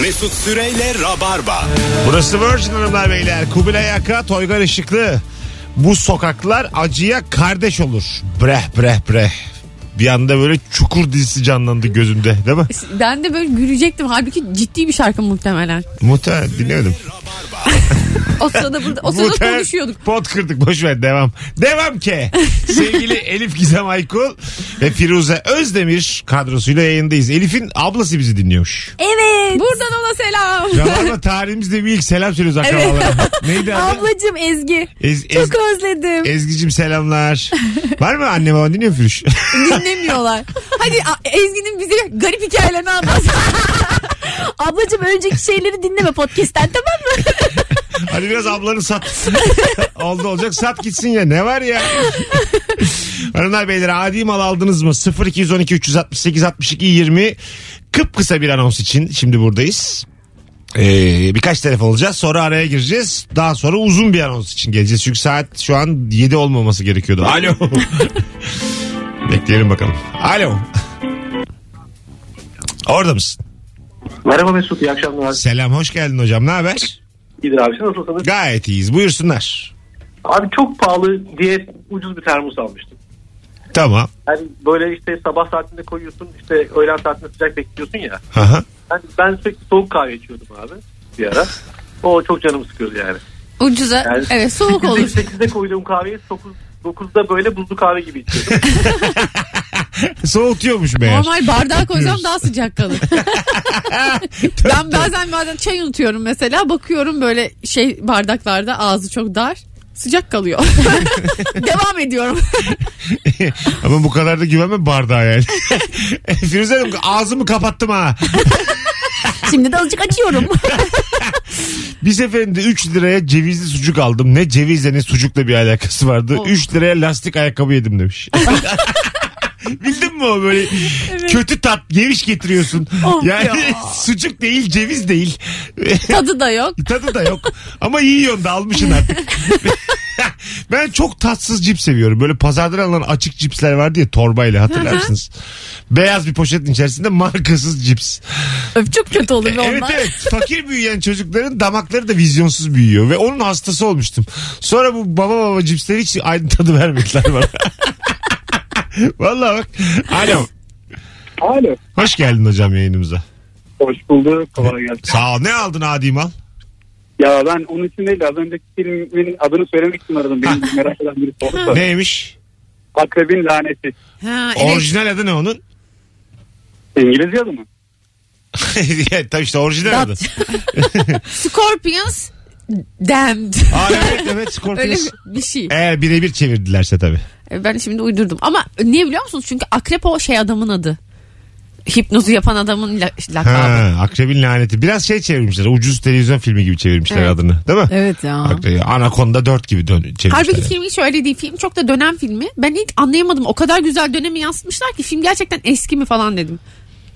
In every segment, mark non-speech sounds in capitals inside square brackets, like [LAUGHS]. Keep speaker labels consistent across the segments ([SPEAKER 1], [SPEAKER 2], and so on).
[SPEAKER 1] Mesut Süreyle Rabarba.
[SPEAKER 2] Burası Virgin Hanımlar Beyler. Kubilay Aka, Toygar Işıklı. Bu sokaklar acıya kardeş olur. Breh breh breh. Bir anda böyle çukur dizisi canlandı gözümde
[SPEAKER 3] [LAUGHS]
[SPEAKER 2] değil mi?
[SPEAKER 3] Ben de böyle gülecektim. Halbuki ciddi bir şarkı muhtemelen.
[SPEAKER 2] Muhtemelen dinlemedim.
[SPEAKER 3] O sırada burada o sırada
[SPEAKER 2] Muhtemelen
[SPEAKER 3] konuşuyorduk.
[SPEAKER 2] Pot kırdık boşver devam.
[SPEAKER 3] [LAUGHS]
[SPEAKER 2] Devam ki. Sevgili Elif Gizem Aykul ve Firuze Özdemir kadrosuyla yayındayız. Elif'in ablası bizi dinliyormuş.
[SPEAKER 4] Evet.
[SPEAKER 3] Buradan ona selam. [LAUGHS]
[SPEAKER 2] Rabarba tarihimizde bir ilk selam söylüyoruz akrabalara. Neydi adı?
[SPEAKER 4] Ablacım Ezgi.
[SPEAKER 2] Ez- Ez-
[SPEAKER 4] Çok özledim.
[SPEAKER 3] [LAUGHS]
[SPEAKER 2] Ezgi'cim selamlar. Var mı anne baban dinliyor mu Firuş?
[SPEAKER 3] Dinlemiyorlar. Hadi a- Ezgi'nin bize garip hikayelerini [LAUGHS] anlat.
[SPEAKER 4] Ablacım önceki şeyleri dinleme podcast'ten tamam mı?
[SPEAKER 2] Hadi biraz ablanı sat. [LAUGHS] Oldu olacak sat gitsin ya ne var ya. Hanımlar beyler adi mal aldınız mı? 0212 368 62 20 kıpkısa bir anons için şimdi buradayız. Ee, birkaç telefon alacağız sonra araya gireceğiz daha sonra uzun bir anons için geleceğiz çünkü saat şu an 7 olmaması gerekiyordu alo [LAUGHS] bekleyelim bakalım alo orada mısın
[SPEAKER 5] Merhaba Mesut iyi akşamlar.
[SPEAKER 2] selam hoş geldin hocam ne haber
[SPEAKER 5] İyidir abi siz nasılsınız?
[SPEAKER 2] gayet iyiyiz buyursunlar
[SPEAKER 5] Abi çok pahalı diye ucuz bir termos almıştım.
[SPEAKER 2] tamam
[SPEAKER 5] Yani böyle işte sabah saatinde koyuyorsun işte öğlen saatinde sıcak bekliyorsun ya.
[SPEAKER 2] Aha.
[SPEAKER 5] Ben, ben sürekli soğuk kahve içiyordum abi bir ara. O çok canımı sıkıyordu yani.
[SPEAKER 3] Ucuza.
[SPEAKER 5] Yani-
[SPEAKER 3] Evet soğuk olur.
[SPEAKER 5] 8'de koyduğum kahveyi 9, 9'da böyle buzlu kahve gibi içiyordum.
[SPEAKER 6] [LAUGHS]
[SPEAKER 2] Soğutuyormuş meğer.
[SPEAKER 3] Normal bardağa koysam daha sıcak kalır. ben bazen bazen çay unutuyorum mesela. Bakıyorum böyle şey bardaklarda ağzı çok dar. Sıcak kalıyor. [LAUGHS] Devam ediyorum.
[SPEAKER 2] [LAUGHS] Ama bu kadar da güvenme bardağa yani. [LAUGHS] Firuze Hanım ağzımı kapattım ha.
[SPEAKER 4] [LAUGHS] Şimdi de azıcık açıyorum.
[SPEAKER 2] Bir seferinde 3 liraya cevizli sucuk aldım. Ne cevizle ne sucukla bir alakası vardı. 3 liraya lastik ayakkabı yedim demiş. Bildin mi o böyle kötü tat geviş getiriyorsun.
[SPEAKER 4] Of
[SPEAKER 2] yani [LAUGHS] sucuk değil ceviz değil.
[SPEAKER 3] [LAUGHS] Tadı da yok.
[SPEAKER 2] Tadı da yok. Ama yiyorsun da almışsın artık. ben çok tatsız cips seviyorum. Böyle pazardan alınan açık cipsler vardı ya torbayla hatırlar mısınız? Beyaz bir poşetin içerisinde markasız cips.
[SPEAKER 3] Öf, Çok kötü olur ve
[SPEAKER 2] Evet
[SPEAKER 3] onlar.
[SPEAKER 2] evet fakir büyüyen çocukların damakları da vizyonsuz büyüyor ve onun hastası olmuştum. Sonra bu baba baba cipsleri hiç aynı tadı vermediler bana. [LAUGHS] Vallahi bak. Alo.
[SPEAKER 5] Alo.
[SPEAKER 2] Hoş geldin hocam yayınımıza.
[SPEAKER 5] Hoş bulduk. Kolay gelsin.
[SPEAKER 2] Sağ ol. Ne aldın adi mal?
[SPEAKER 5] Ya ben onun için değil az önceki filmin adını söylemek için aradım. Benim merak eden bir soru.
[SPEAKER 2] Neymiş?
[SPEAKER 5] Akrebin laneti.
[SPEAKER 3] Ha, evet.
[SPEAKER 2] Orijinal adı ne onun? [LAUGHS]
[SPEAKER 5] İngilizce adı mı?
[SPEAKER 2] Ya, Tabii işte orijinal adı.
[SPEAKER 3] [LAUGHS] Scorpions damned.
[SPEAKER 2] Aa, evet evet
[SPEAKER 3] Öyle
[SPEAKER 2] Scorpions.
[SPEAKER 3] bir, bir şey.
[SPEAKER 2] Eğer birebir çevirdilerse tabii.
[SPEAKER 3] E, Ben şimdi uydurdum. Ama niye biliyor musunuz? Çünkü akrep o şey adamın adı. Hipnozu yapan adamın la- lakabı.
[SPEAKER 2] Ha, akrebin laneti. Biraz şey çevirmişler. Ucuz televizyon filmi gibi çevirmişler
[SPEAKER 3] Evet.
[SPEAKER 2] adını. Değil mi?
[SPEAKER 3] Evet ya.
[SPEAKER 2] Akre- Anaconda 4 gibi dön çevirmişler.
[SPEAKER 3] Halbuki
[SPEAKER 2] yani.
[SPEAKER 3] film hiç öyle değil. Film çok da dönem filmi. Ben ilk anlayamadım. O kadar güzel dönemi yansıtmışlar ki film gerçekten eski mi falan dedim.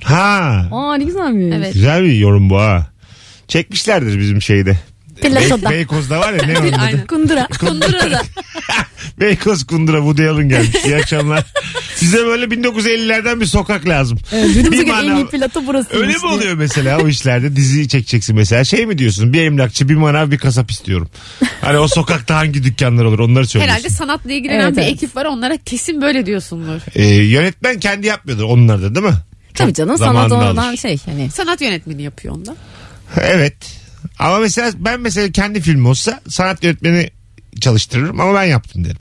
[SPEAKER 2] Ha.
[SPEAKER 4] Aa ne güzel mi? Evet.
[SPEAKER 2] Güzel bir yorum bu ha. Çekmişlerdir bizim şeyde.
[SPEAKER 4] Platoda.
[SPEAKER 2] Bey- Beykoz'da var ya ne onun adı?
[SPEAKER 3] Aynen.
[SPEAKER 2] [LAUGHS]
[SPEAKER 4] Kundura.
[SPEAKER 3] Kundura'da.
[SPEAKER 2] Beykoz Kundura Woody Allen gelmiş.
[SPEAKER 3] [LAUGHS]
[SPEAKER 2] İyi akşamlar. Size böyle 1950'lerden bir sokak lazım.
[SPEAKER 4] Evet,
[SPEAKER 2] Bir
[SPEAKER 4] Günümüze göre en
[SPEAKER 2] manav-
[SPEAKER 4] iyi plato burası.
[SPEAKER 2] Öyle mi oluyor mesela o işlerde diziyi çekeceksin mesela şey mi diyorsun bir emlakçı bir manav bir kasap istiyorum. Hani o sokakta hangi dükkanlar olur onları söylüyorsun.
[SPEAKER 3] Herhalde sanatla ilgilenen
[SPEAKER 4] Evet,
[SPEAKER 3] bir
[SPEAKER 4] evet.
[SPEAKER 3] ekip var. Onlara kesin böyle diyorsundur.
[SPEAKER 2] Ee, yönetmen kendi yapmıyordur onlar da değil mi?
[SPEAKER 4] Tabii
[SPEAKER 2] Çok
[SPEAKER 4] canım sanat
[SPEAKER 2] zamanını
[SPEAKER 4] olan
[SPEAKER 2] alır.
[SPEAKER 4] şey. Hani.
[SPEAKER 3] Sanat yönetmeni yapıyor onda.
[SPEAKER 2] Evet. Ama mesela ben mesela kendi film olsa sanat yönetmeni çalıştırırım ama ben yaptım derim.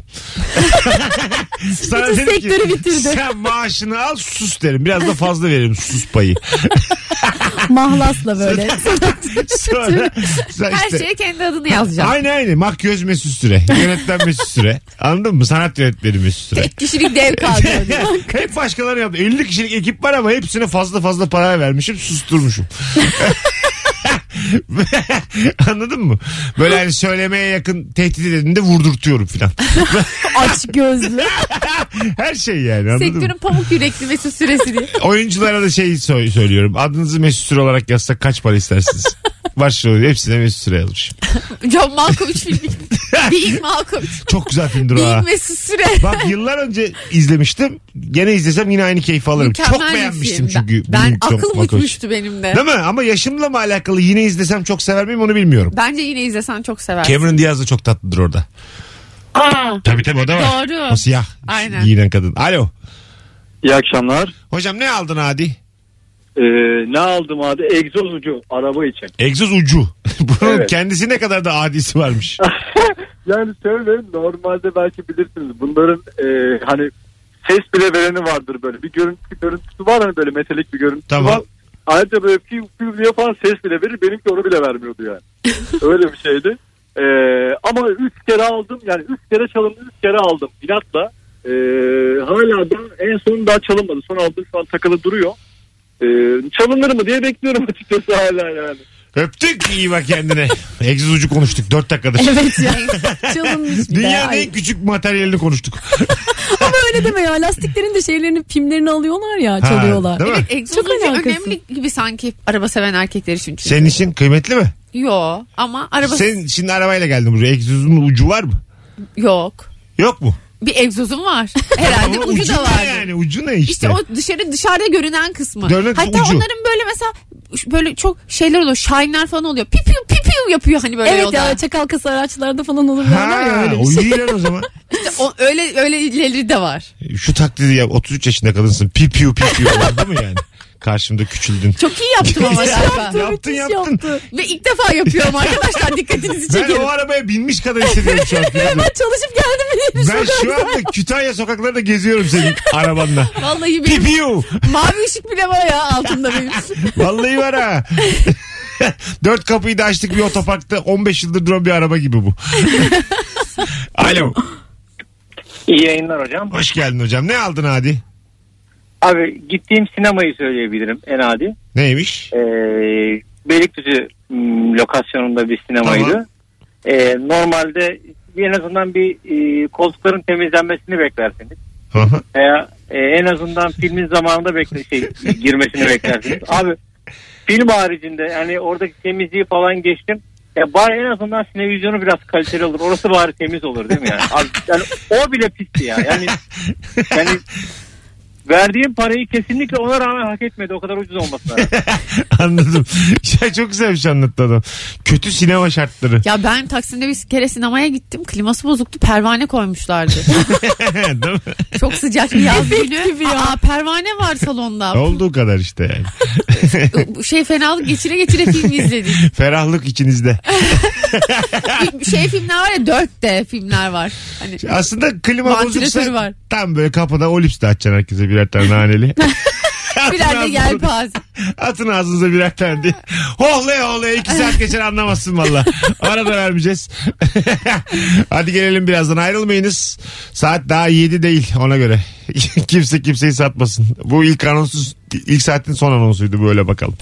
[SPEAKER 2] Sana
[SPEAKER 4] [LAUGHS] Bütün
[SPEAKER 2] derim ki,
[SPEAKER 4] sektörü bitirdi.
[SPEAKER 2] Sen maaşını al sus derim. Biraz da fazla veririm sus payı.
[SPEAKER 4] [LAUGHS] Mahlasla böyle. şey
[SPEAKER 2] Sonra, sonra
[SPEAKER 3] Her
[SPEAKER 2] işte-
[SPEAKER 3] şeye kendi adını
[SPEAKER 2] [LAUGHS]
[SPEAKER 3] yazacağım.
[SPEAKER 2] Aynı aynı. Makyöz Mesut Süre. Yönetmen Mesut Süre. Anladın mı? Sanat yönetmeni Mesut Süre.
[SPEAKER 3] Tek kişilik dev [LAUGHS] kaldı.
[SPEAKER 2] Hep başkaları yaptı. 50 kişilik ekip var ama hepsine fazla fazla para vermişim. Susturmuşum. [LAUGHS] Anladın mı? Böyle hani söylemeye yakın tehdit edildiğinde vurdurtuyorum filan.
[SPEAKER 4] Aç gözlü.
[SPEAKER 2] Her şey yani anladın mı?
[SPEAKER 3] Sektörün pamuk yürekli mesut süresi diye.
[SPEAKER 2] Oyunculara da şey so- söylüyorum. Adınızı Mesut Süre olarak yazsak kaç para istersiniz? Başrolü hepsine Mesut Süre almış.
[SPEAKER 3] John Malkovich
[SPEAKER 2] [LAUGHS]
[SPEAKER 3] filmi. Being Malkovich.
[SPEAKER 2] Çok güzel filmdir o ha.
[SPEAKER 3] Being Mesut Süre. [LAUGHS]
[SPEAKER 2] Bak yıllar önce izlemiştim. Gene izlesem yine aynı keyfi alırım.
[SPEAKER 3] Mükemmel
[SPEAKER 2] çok
[SPEAKER 3] bir film.
[SPEAKER 2] beğenmiştim çünkü.
[SPEAKER 3] Ben, ben
[SPEAKER 2] Benim John
[SPEAKER 3] akıl
[SPEAKER 2] Malkovich.
[SPEAKER 3] uçmuştu benim de.
[SPEAKER 2] Değil mi? Ama yaşımla mı alakalı yine izlesem çok sever miyim onu bilmiyorum.
[SPEAKER 3] Bence yine izlesen çok seversin.
[SPEAKER 2] Cameron Diaz da çok tatlıdır orada.
[SPEAKER 4] Aa,
[SPEAKER 2] Tabii tabii o da var.
[SPEAKER 3] Doğru.
[SPEAKER 2] O siyah
[SPEAKER 3] Aynen.
[SPEAKER 2] giyinen kadın. Alo.
[SPEAKER 6] İyi akşamlar.
[SPEAKER 2] Hocam ne aldın Adi?
[SPEAKER 6] Ee, ne aldım abi? Egzoz ucu araba için.
[SPEAKER 2] Egzoz ucu. [LAUGHS] Bunun
[SPEAKER 6] Evet.
[SPEAKER 2] kendisi ne kadar da adisi varmış.
[SPEAKER 6] Yani şöyle normalde belki bilirsiniz bunların e, hani ses bile vereni vardır böyle. Bir görüntü görüntüsü var hani böyle metalik bir görüntüsü
[SPEAKER 2] Tamam.
[SPEAKER 6] var. Ayrıca böyle piu piu diye falan ses bile verir. Benimki onu bile vermiyordu yani.
[SPEAKER 7] [LAUGHS]
[SPEAKER 6] Öyle bir şeydi. E, ama üç kere aldım. Yani üç kere çalındı üç kere aldım. Binatla. E, hala da en son daha çalınmadı. Son aldım şu an takılı duruyor. E, çalınır mı diye bekliyorum [LAUGHS] açıkçası hala yani.
[SPEAKER 2] Öptük iyi bak kendine. Egzoz ucu konuştuk 4 dakikadır.
[SPEAKER 4] [LAUGHS] evet ya.
[SPEAKER 3] [LAUGHS]
[SPEAKER 4] Çalınmış bir de.
[SPEAKER 2] Dünyanın
[SPEAKER 4] Ay.
[SPEAKER 2] en küçük materyalini konuştuk.
[SPEAKER 4] Ama öyle deme ya. Lastiklerin de şeylerini pimlerini alıyorlar ya
[SPEAKER 2] Ha,
[SPEAKER 4] çalıyorlar.
[SPEAKER 2] değil mi?
[SPEAKER 3] Egzoz
[SPEAKER 4] Çok
[SPEAKER 3] ucu
[SPEAKER 4] alakası.
[SPEAKER 3] önemli gibi sanki araba seven erkekler için. çünkü.
[SPEAKER 2] Senin için kıymetli mi?
[SPEAKER 3] Yo ama araba
[SPEAKER 2] Senin şimdi arabayla geldim buraya. Egzozun ucu var mı?
[SPEAKER 3] yok.
[SPEAKER 2] Yok mu?
[SPEAKER 3] Bir egzozum var. Herhalde
[SPEAKER 2] Ama
[SPEAKER 3] ucu, da
[SPEAKER 2] ne
[SPEAKER 3] var.
[SPEAKER 2] yani ucu ne işte?
[SPEAKER 3] İşte o dışarı dışarıda görünen kısmı.
[SPEAKER 2] Görünen kısmı
[SPEAKER 3] Hatta
[SPEAKER 2] ucu.
[SPEAKER 3] onların böyle mesela ş- böyle çok şeyler oluyor. Shine'ler falan oluyor. Piu piu piu piu yapıyor hani böyle
[SPEAKER 4] Evet
[SPEAKER 3] yolda.
[SPEAKER 4] ya çakal kasa araçlarda falan olur derler ya
[SPEAKER 2] Ha,
[SPEAKER 4] öyle bir
[SPEAKER 2] o
[SPEAKER 4] şey.
[SPEAKER 2] iyi lan
[SPEAKER 3] [LAUGHS]
[SPEAKER 2] o zaman.
[SPEAKER 3] İşte o, öyle öyle ileri de var.
[SPEAKER 2] Şu taklidi yap. 33 yaşında kadınsın. Pi piu pi piu falan değil mi yani? Karşımda küçüldün.
[SPEAKER 3] Çok iyi yaptım ama galiba.
[SPEAKER 2] yaptın
[SPEAKER 4] Müthiş
[SPEAKER 2] yaptın.
[SPEAKER 4] yaptı.
[SPEAKER 3] Ve ilk defa
[SPEAKER 2] [LAUGHS]
[SPEAKER 3] yapıyorum arkadaşlar dikkatinizi
[SPEAKER 2] Ben
[SPEAKER 3] çekerim.
[SPEAKER 2] o arabaya binmiş kadar hissediyorum şu an. Firuze.
[SPEAKER 3] [LAUGHS]
[SPEAKER 4] Ben çalışıp geldim diye
[SPEAKER 2] ben şu anda Kütahya sokaklarında geziyorum senin arabanla.
[SPEAKER 3] Vallahi
[SPEAKER 2] Pi
[SPEAKER 3] benim
[SPEAKER 2] piu.
[SPEAKER 3] mavi ışık bile var ya altında benim.
[SPEAKER 2] Vallahi var ha. [LAUGHS] Dört kapıyı da açtık bir otoparkta 15 yıldır duran bir araba gibi bu. [LAUGHS] Alo.
[SPEAKER 7] İyi yayınlar hocam.
[SPEAKER 2] Hoş geldin hocam. Ne aldın Hadi?
[SPEAKER 7] Abi gittiğim sinemayı söyleyebilirim en adi.
[SPEAKER 2] Neymiş?
[SPEAKER 7] Ee, Beylikdüzü m, lokasyonunda bir sinemaydı.
[SPEAKER 2] Tamam.
[SPEAKER 7] Ee, normalde bir- en azından bir e, koltukların temizlenmesini beklersiniz.
[SPEAKER 2] Hı hı.
[SPEAKER 7] Veya e, en azından filmin zamanında bekle şey girmesini beklersiniz. Abi film haricinde yani oradaki temizliği falan geçtim. Ya bari en azından sinevizyonu biraz kaliteli olur. Orası bari temiz olur değil mi yani? Abi, yani o bile pisti ya. Yani yani verdiğim parayı kesinlikle ona rağmen hak etmedi. O kadar ucuz olmasına rağmen.
[SPEAKER 2] [LAUGHS] Anladım. Ya çok güzelmiş anlattı adam. Kötü sinema şartları.
[SPEAKER 3] Ya ben Taksim'de bir kere sinemaya gittim. Kliması bozuktu.
[SPEAKER 4] [LAUGHS]
[SPEAKER 3] Pervane koymuşlardı.
[SPEAKER 2] Değil
[SPEAKER 3] [LAUGHS]
[SPEAKER 2] mi?
[SPEAKER 3] Çok sıcak bir yaz
[SPEAKER 4] gibi
[SPEAKER 3] günü.
[SPEAKER 4] ya.
[SPEAKER 3] Aa, pervane var salonda.
[SPEAKER 2] Olduğu kadar işte yani.
[SPEAKER 3] şey fenalık geçire geçire film
[SPEAKER 2] [LAUGHS]
[SPEAKER 3] izledik.
[SPEAKER 2] Ferahlık içinizde.
[SPEAKER 3] Bir şey filmler var ya dört de filmler var. Hani
[SPEAKER 2] Aslında klima
[SPEAKER 3] Vantilatörü
[SPEAKER 2] bozuksa
[SPEAKER 3] var.
[SPEAKER 2] tam böyle kapıda o lips de açacaksın herkese birer
[SPEAKER 3] [LAUGHS]
[SPEAKER 2] tane naneli. Atın
[SPEAKER 3] birer de
[SPEAKER 2] ağzınıza-
[SPEAKER 3] yelpaze.
[SPEAKER 2] Atın ağzınıza birer tane diye. Hohlaya hohlaya iki saat geçer anlamazsın valla. Ara da vermeyeceğiz. [LAUGHS] Hadi gelelim birazdan ayrılmayınız. Saat daha 7 değil ona göre. [LAUGHS] Kimse kimseyi satmasın. Bu ilk anonsuz ilk saatin son anonsuydu böyle bakalım.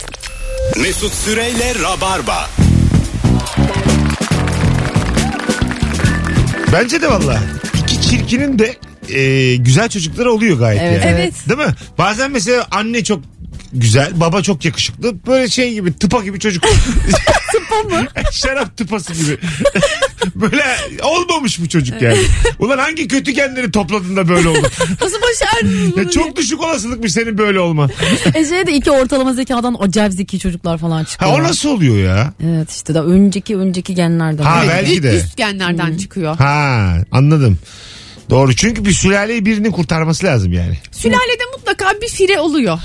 [SPEAKER 1] Mesut Süreyle Rabarba.
[SPEAKER 2] Bence de valla. İki çirkinin de e, güzel çocukları oluyor gayet
[SPEAKER 4] Evet,
[SPEAKER 2] yani.
[SPEAKER 4] evet.
[SPEAKER 2] Değil mi? Bazen mesela anne çok güzel, baba çok yakışıklı. Böyle şey gibi tıpa gibi çocuk. tıpa mı? [LAUGHS] Şarap tıpası gibi. [LAUGHS] böyle olmamış bu çocuk yani. Ulan hangi kötü kendini topladın da böyle oldu?
[SPEAKER 4] Nasıl başardınız bunu
[SPEAKER 2] ya çok düşük olasılıkmış senin böyle olma.
[SPEAKER 4] diye. E şey de iki ortalama zekadan acayip zeki çocuklar falan
[SPEAKER 2] Ha
[SPEAKER 4] çıkıyor.
[SPEAKER 2] o nasıl oluyor ya?
[SPEAKER 4] Evet işte daha önceki önceki genlerden.
[SPEAKER 2] Ha,
[SPEAKER 4] Evet.
[SPEAKER 2] belki
[SPEAKER 3] Üst-
[SPEAKER 2] de.
[SPEAKER 3] Üst genlerden
[SPEAKER 4] Hmm.
[SPEAKER 3] çıkıyor.
[SPEAKER 2] Ha anladım. Doğru çünkü bir sülaleyi birinin kurtarması lazım yani.
[SPEAKER 3] Sülalede mutlaka bir fire oluyor. [LAUGHS]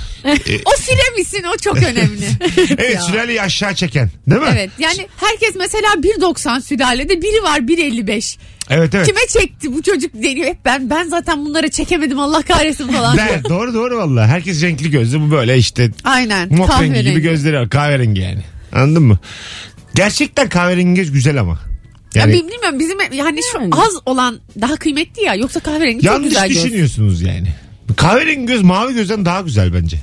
[SPEAKER 3] o fire misin o çok önemli.
[SPEAKER 2] E, [LAUGHS] Evet
[SPEAKER 4] Ya.
[SPEAKER 2] sülaleyi aşağı çeken değil mi?
[SPEAKER 3] evet yani herkes mesela 1.90 sülalede biri var 1.55.
[SPEAKER 2] Evet evet.
[SPEAKER 3] Kime çekti bu çocuk deniyor. Hep ben ben zaten bunlara çekemedim Allah kahretsin
[SPEAKER 2] [LAUGHS]
[SPEAKER 3] falan.
[SPEAKER 2] Der. doğru doğru valla. Herkes renkli gözlü. Bu böyle işte
[SPEAKER 3] Aynen.
[SPEAKER 2] mok rengi
[SPEAKER 3] kahverengi.
[SPEAKER 2] gibi gözleri var. Kahverengi yani. Anladın mı? Gerçekten kahverengi göz güzel ama.
[SPEAKER 3] Ya
[SPEAKER 2] Yani
[SPEAKER 3] bi- bilmiyorum bizim yani şu
[SPEAKER 4] Yani.
[SPEAKER 3] az olan daha kıymetli ya. Yoksa kahverengi çok
[SPEAKER 2] yanlış
[SPEAKER 3] güzel göz.
[SPEAKER 2] düşünüyorsunuz yani. Kahverengi göz mavi gözden daha güzel bence.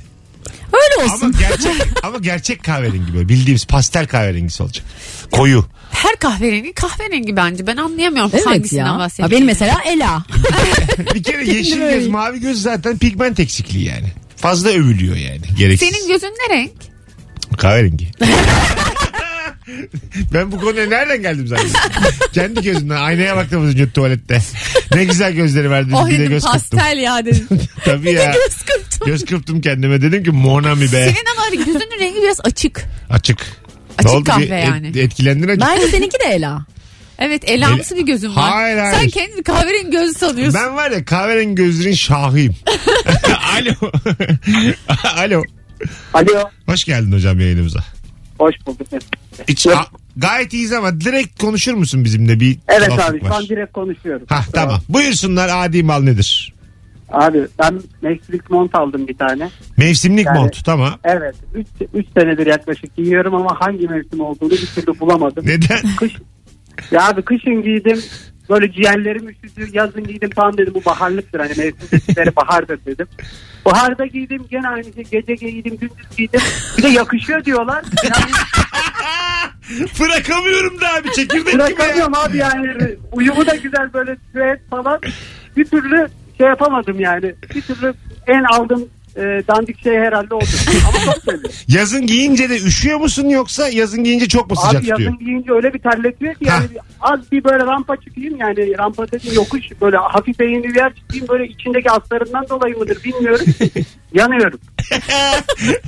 [SPEAKER 4] Öyle olsun.
[SPEAKER 3] [LAUGHS]
[SPEAKER 2] Ama gerçek ama gerçek kahverengi böyle bildiğimiz pastel kahverengisi olacak. Koyu.
[SPEAKER 3] Her kahverengi kahverengi bence. Ben anlayamıyorum
[SPEAKER 4] Evet
[SPEAKER 3] hangisinden
[SPEAKER 4] ya. Ha,
[SPEAKER 3] bahsediyor.
[SPEAKER 4] benim mesela Ela.
[SPEAKER 3] [LAUGHS]
[SPEAKER 2] Bir kere yeşil
[SPEAKER 4] Kendime
[SPEAKER 2] göz,
[SPEAKER 4] öyle.
[SPEAKER 2] mavi göz zaten pigment eksikliği yani. Fazla övülüyor yani. Gereksiz.
[SPEAKER 3] Senin gözün ne renk?
[SPEAKER 2] Kahverengi. [LAUGHS] Ben bu konuya nereden geldim zaten? Kendi gözümden aynaya baktım az önce tuvalette. Ne güzel gözleri verdin.
[SPEAKER 3] Oh
[SPEAKER 2] bir de
[SPEAKER 3] dedim
[SPEAKER 2] göz kırptım.
[SPEAKER 3] pastel ya dedim.
[SPEAKER 2] Tabii ya.
[SPEAKER 3] göz kırptım.
[SPEAKER 2] Göz kırptım kendime. Dedim ki Monami be.
[SPEAKER 3] Senin ama gözünün rengi biraz
[SPEAKER 4] [LAUGHS]
[SPEAKER 3] açık.
[SPEAKER 2] Açık.
[SPEAKER 3] Açık
[SPEAKER 2] ki?
[SPEAKER 3] kahve
[SPEAKER 2] Et-
[SPEAKER 3] yani.
[SPEAKER 2] etkilendin acı.
[SPEAKER 4] Bence seninki de Ela.
[SPEAKER 3] Evet elamsı bir gözün var.
[SPEAKER 2] Hayır, hayır.
[SPEAKER 3] Sen kendini kahverengi gözü sanıyorsun.
[SPEAKER 2] Ben var ya kahverengi
[SPEAKER 3] [LAUGHS]
[SPEAKER 2] gözlerin şahıyım. Alo. [LAUGHS] Alo.
[SPEAKER 5] Alo.
[SPEAKER 2] Hoş geldin hocam yayınımıza.
[SPEAKER 5] Hoş bulduk.
[SPEAKER 2] Hiç,
[SPEAKER 5] Yok.
[SPEAKER 2] a- gayet iyiyiz ama direkt konuşur musun bizimle bir
[SPEAKER 5] Evet
[SPEAKER 2] tuhaflık
[SPEAKER 5] abi şu an direkt konuşuyorum.
[SPEAKER 2] Hah tamam. Buyursunlar adi mal nedir?
[SPEAKER 5] Abi ben Netflix mont aldım bir tane.
[SPEAKER 2] Mevsimlik
[SPEAKER 5] Yani-
[SPEAKER 2] mont tamam.
[SPEAKER 5] Evet 3 senedir yaklaşık giyiyorum ama hangi mevsim olduğunu bir türlü
[SPEAKER 4] [LAUGHS]
[SPEAKER 5] bulamadım.
[SPEAKER 2] Neden?
[SPEAKER 5] Kış, ya abi kışın giydim böyle ciğerlerim üşüdü yazın giydim tamam dedim bu baharlıktır hani mevsim
[SPEAKER 2] [LAUGHS]
[SPEAKER 5] seçimleri bahardır dedim. Baharda giydim gene aynı şey gece giydim gündüz giydim bir de
[SPEAKER 2] [LAUGHS]
[SPEAKER 5] yakışıyor diyorlar. Yani
[SPEAKER 2] Bırakamıyorum da abi çekirdek gibi ya.
[SPEAKER 5] bırakamıyorum abi yani uyumu da güzel böyle süet falan bir türlü şey yapamadım yani bir türlü en aldığım e, dandik şey herhalde oldu
[SPEAKER 2] [LAUGHS]
[SPEAKER 5] ama çok seviyorum.
[SPEAKER 2] Yazın giyince de üşüyor musun yoksa yazın giyince çok mu
[SPEAKER 5] Abi
[SPEAKER 2] sıcak
[SPEAKER 5] yazın
[SPEAKER 4] [LAUGHS]
[SPEAKER 2] tutuyor?
[SPEAKER 5] giyince öyle bir terletiyor ki yani
[SPEAKER 2] Ha.
[SPEAKER 5] bir- az bir böyle rampa çıkayım yani rampa dediğim yokuş böyle hafif eğimli bir yer çıkayım böyle içindeki astarından dolayı
[SPEAKER 2] [LAUGHS]
[SPEAKER 5] mıdır bilmiyorum. Yanıyorum.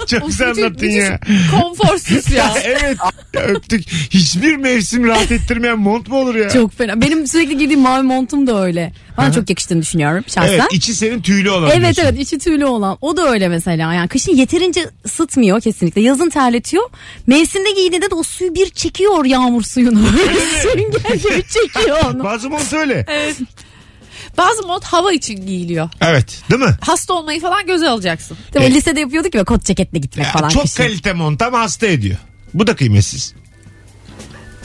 [SPEAKER 2] çok güzel
[SPEAKER 3] Vücut-
[SPEAKER 2] anlattın
[SPEAKER 3] vücut
[SPEAKER 2] ya.
[SPEAKER 4] [LAUGHS]
[SPEAKER 3] Konforsuz ya.
[SPEAKER 2] evet ya öptük. Hiçbir mevsim rahat ettirmeyen mont mu olur ya?
[SPEAKER 4] Çok fena. Benim sürekli giydiğim mavi montum da öyle. Bana çok yakıştığını düşünüyorum şahsen.
[SPEAKER 2] evet içi senin tüylü olan.
[SPEAKER 4] Evet
[SPEAKER 2] diyorsun.
[SPEAKER 4] evet içi tüylü olan. O da öyle mesela. Yani kışın yeterince ısıtmıyor kesinlikle. Yazın terletiyor. Mevsimde giydiğinde de o suyu bir çekiyor yağmur suyunu. [LAUGHS] Sünger gibi çekiyor onu.
[SPEAKER 2] Bazı mont öyle.
[SPEAKER 3] Bazı mod hava için giyiliyor.
[SPEAKER 2] Evet değil mi?
[SPEAKER 3] Hasta olmayı falan göze alacaksın.
[SPEAKER 4] Tabii lisede yapıyorduk ya kot ceketle gitmek
[SPEAKER 2] e- Ya,
[SPEAKER 4] falan.
[SPEAKER 2] çok
[SPEAKER 4] kışın.
[SPEAKER 2] kalite mont ama hasta ediyor. Bu da kıymetsiz.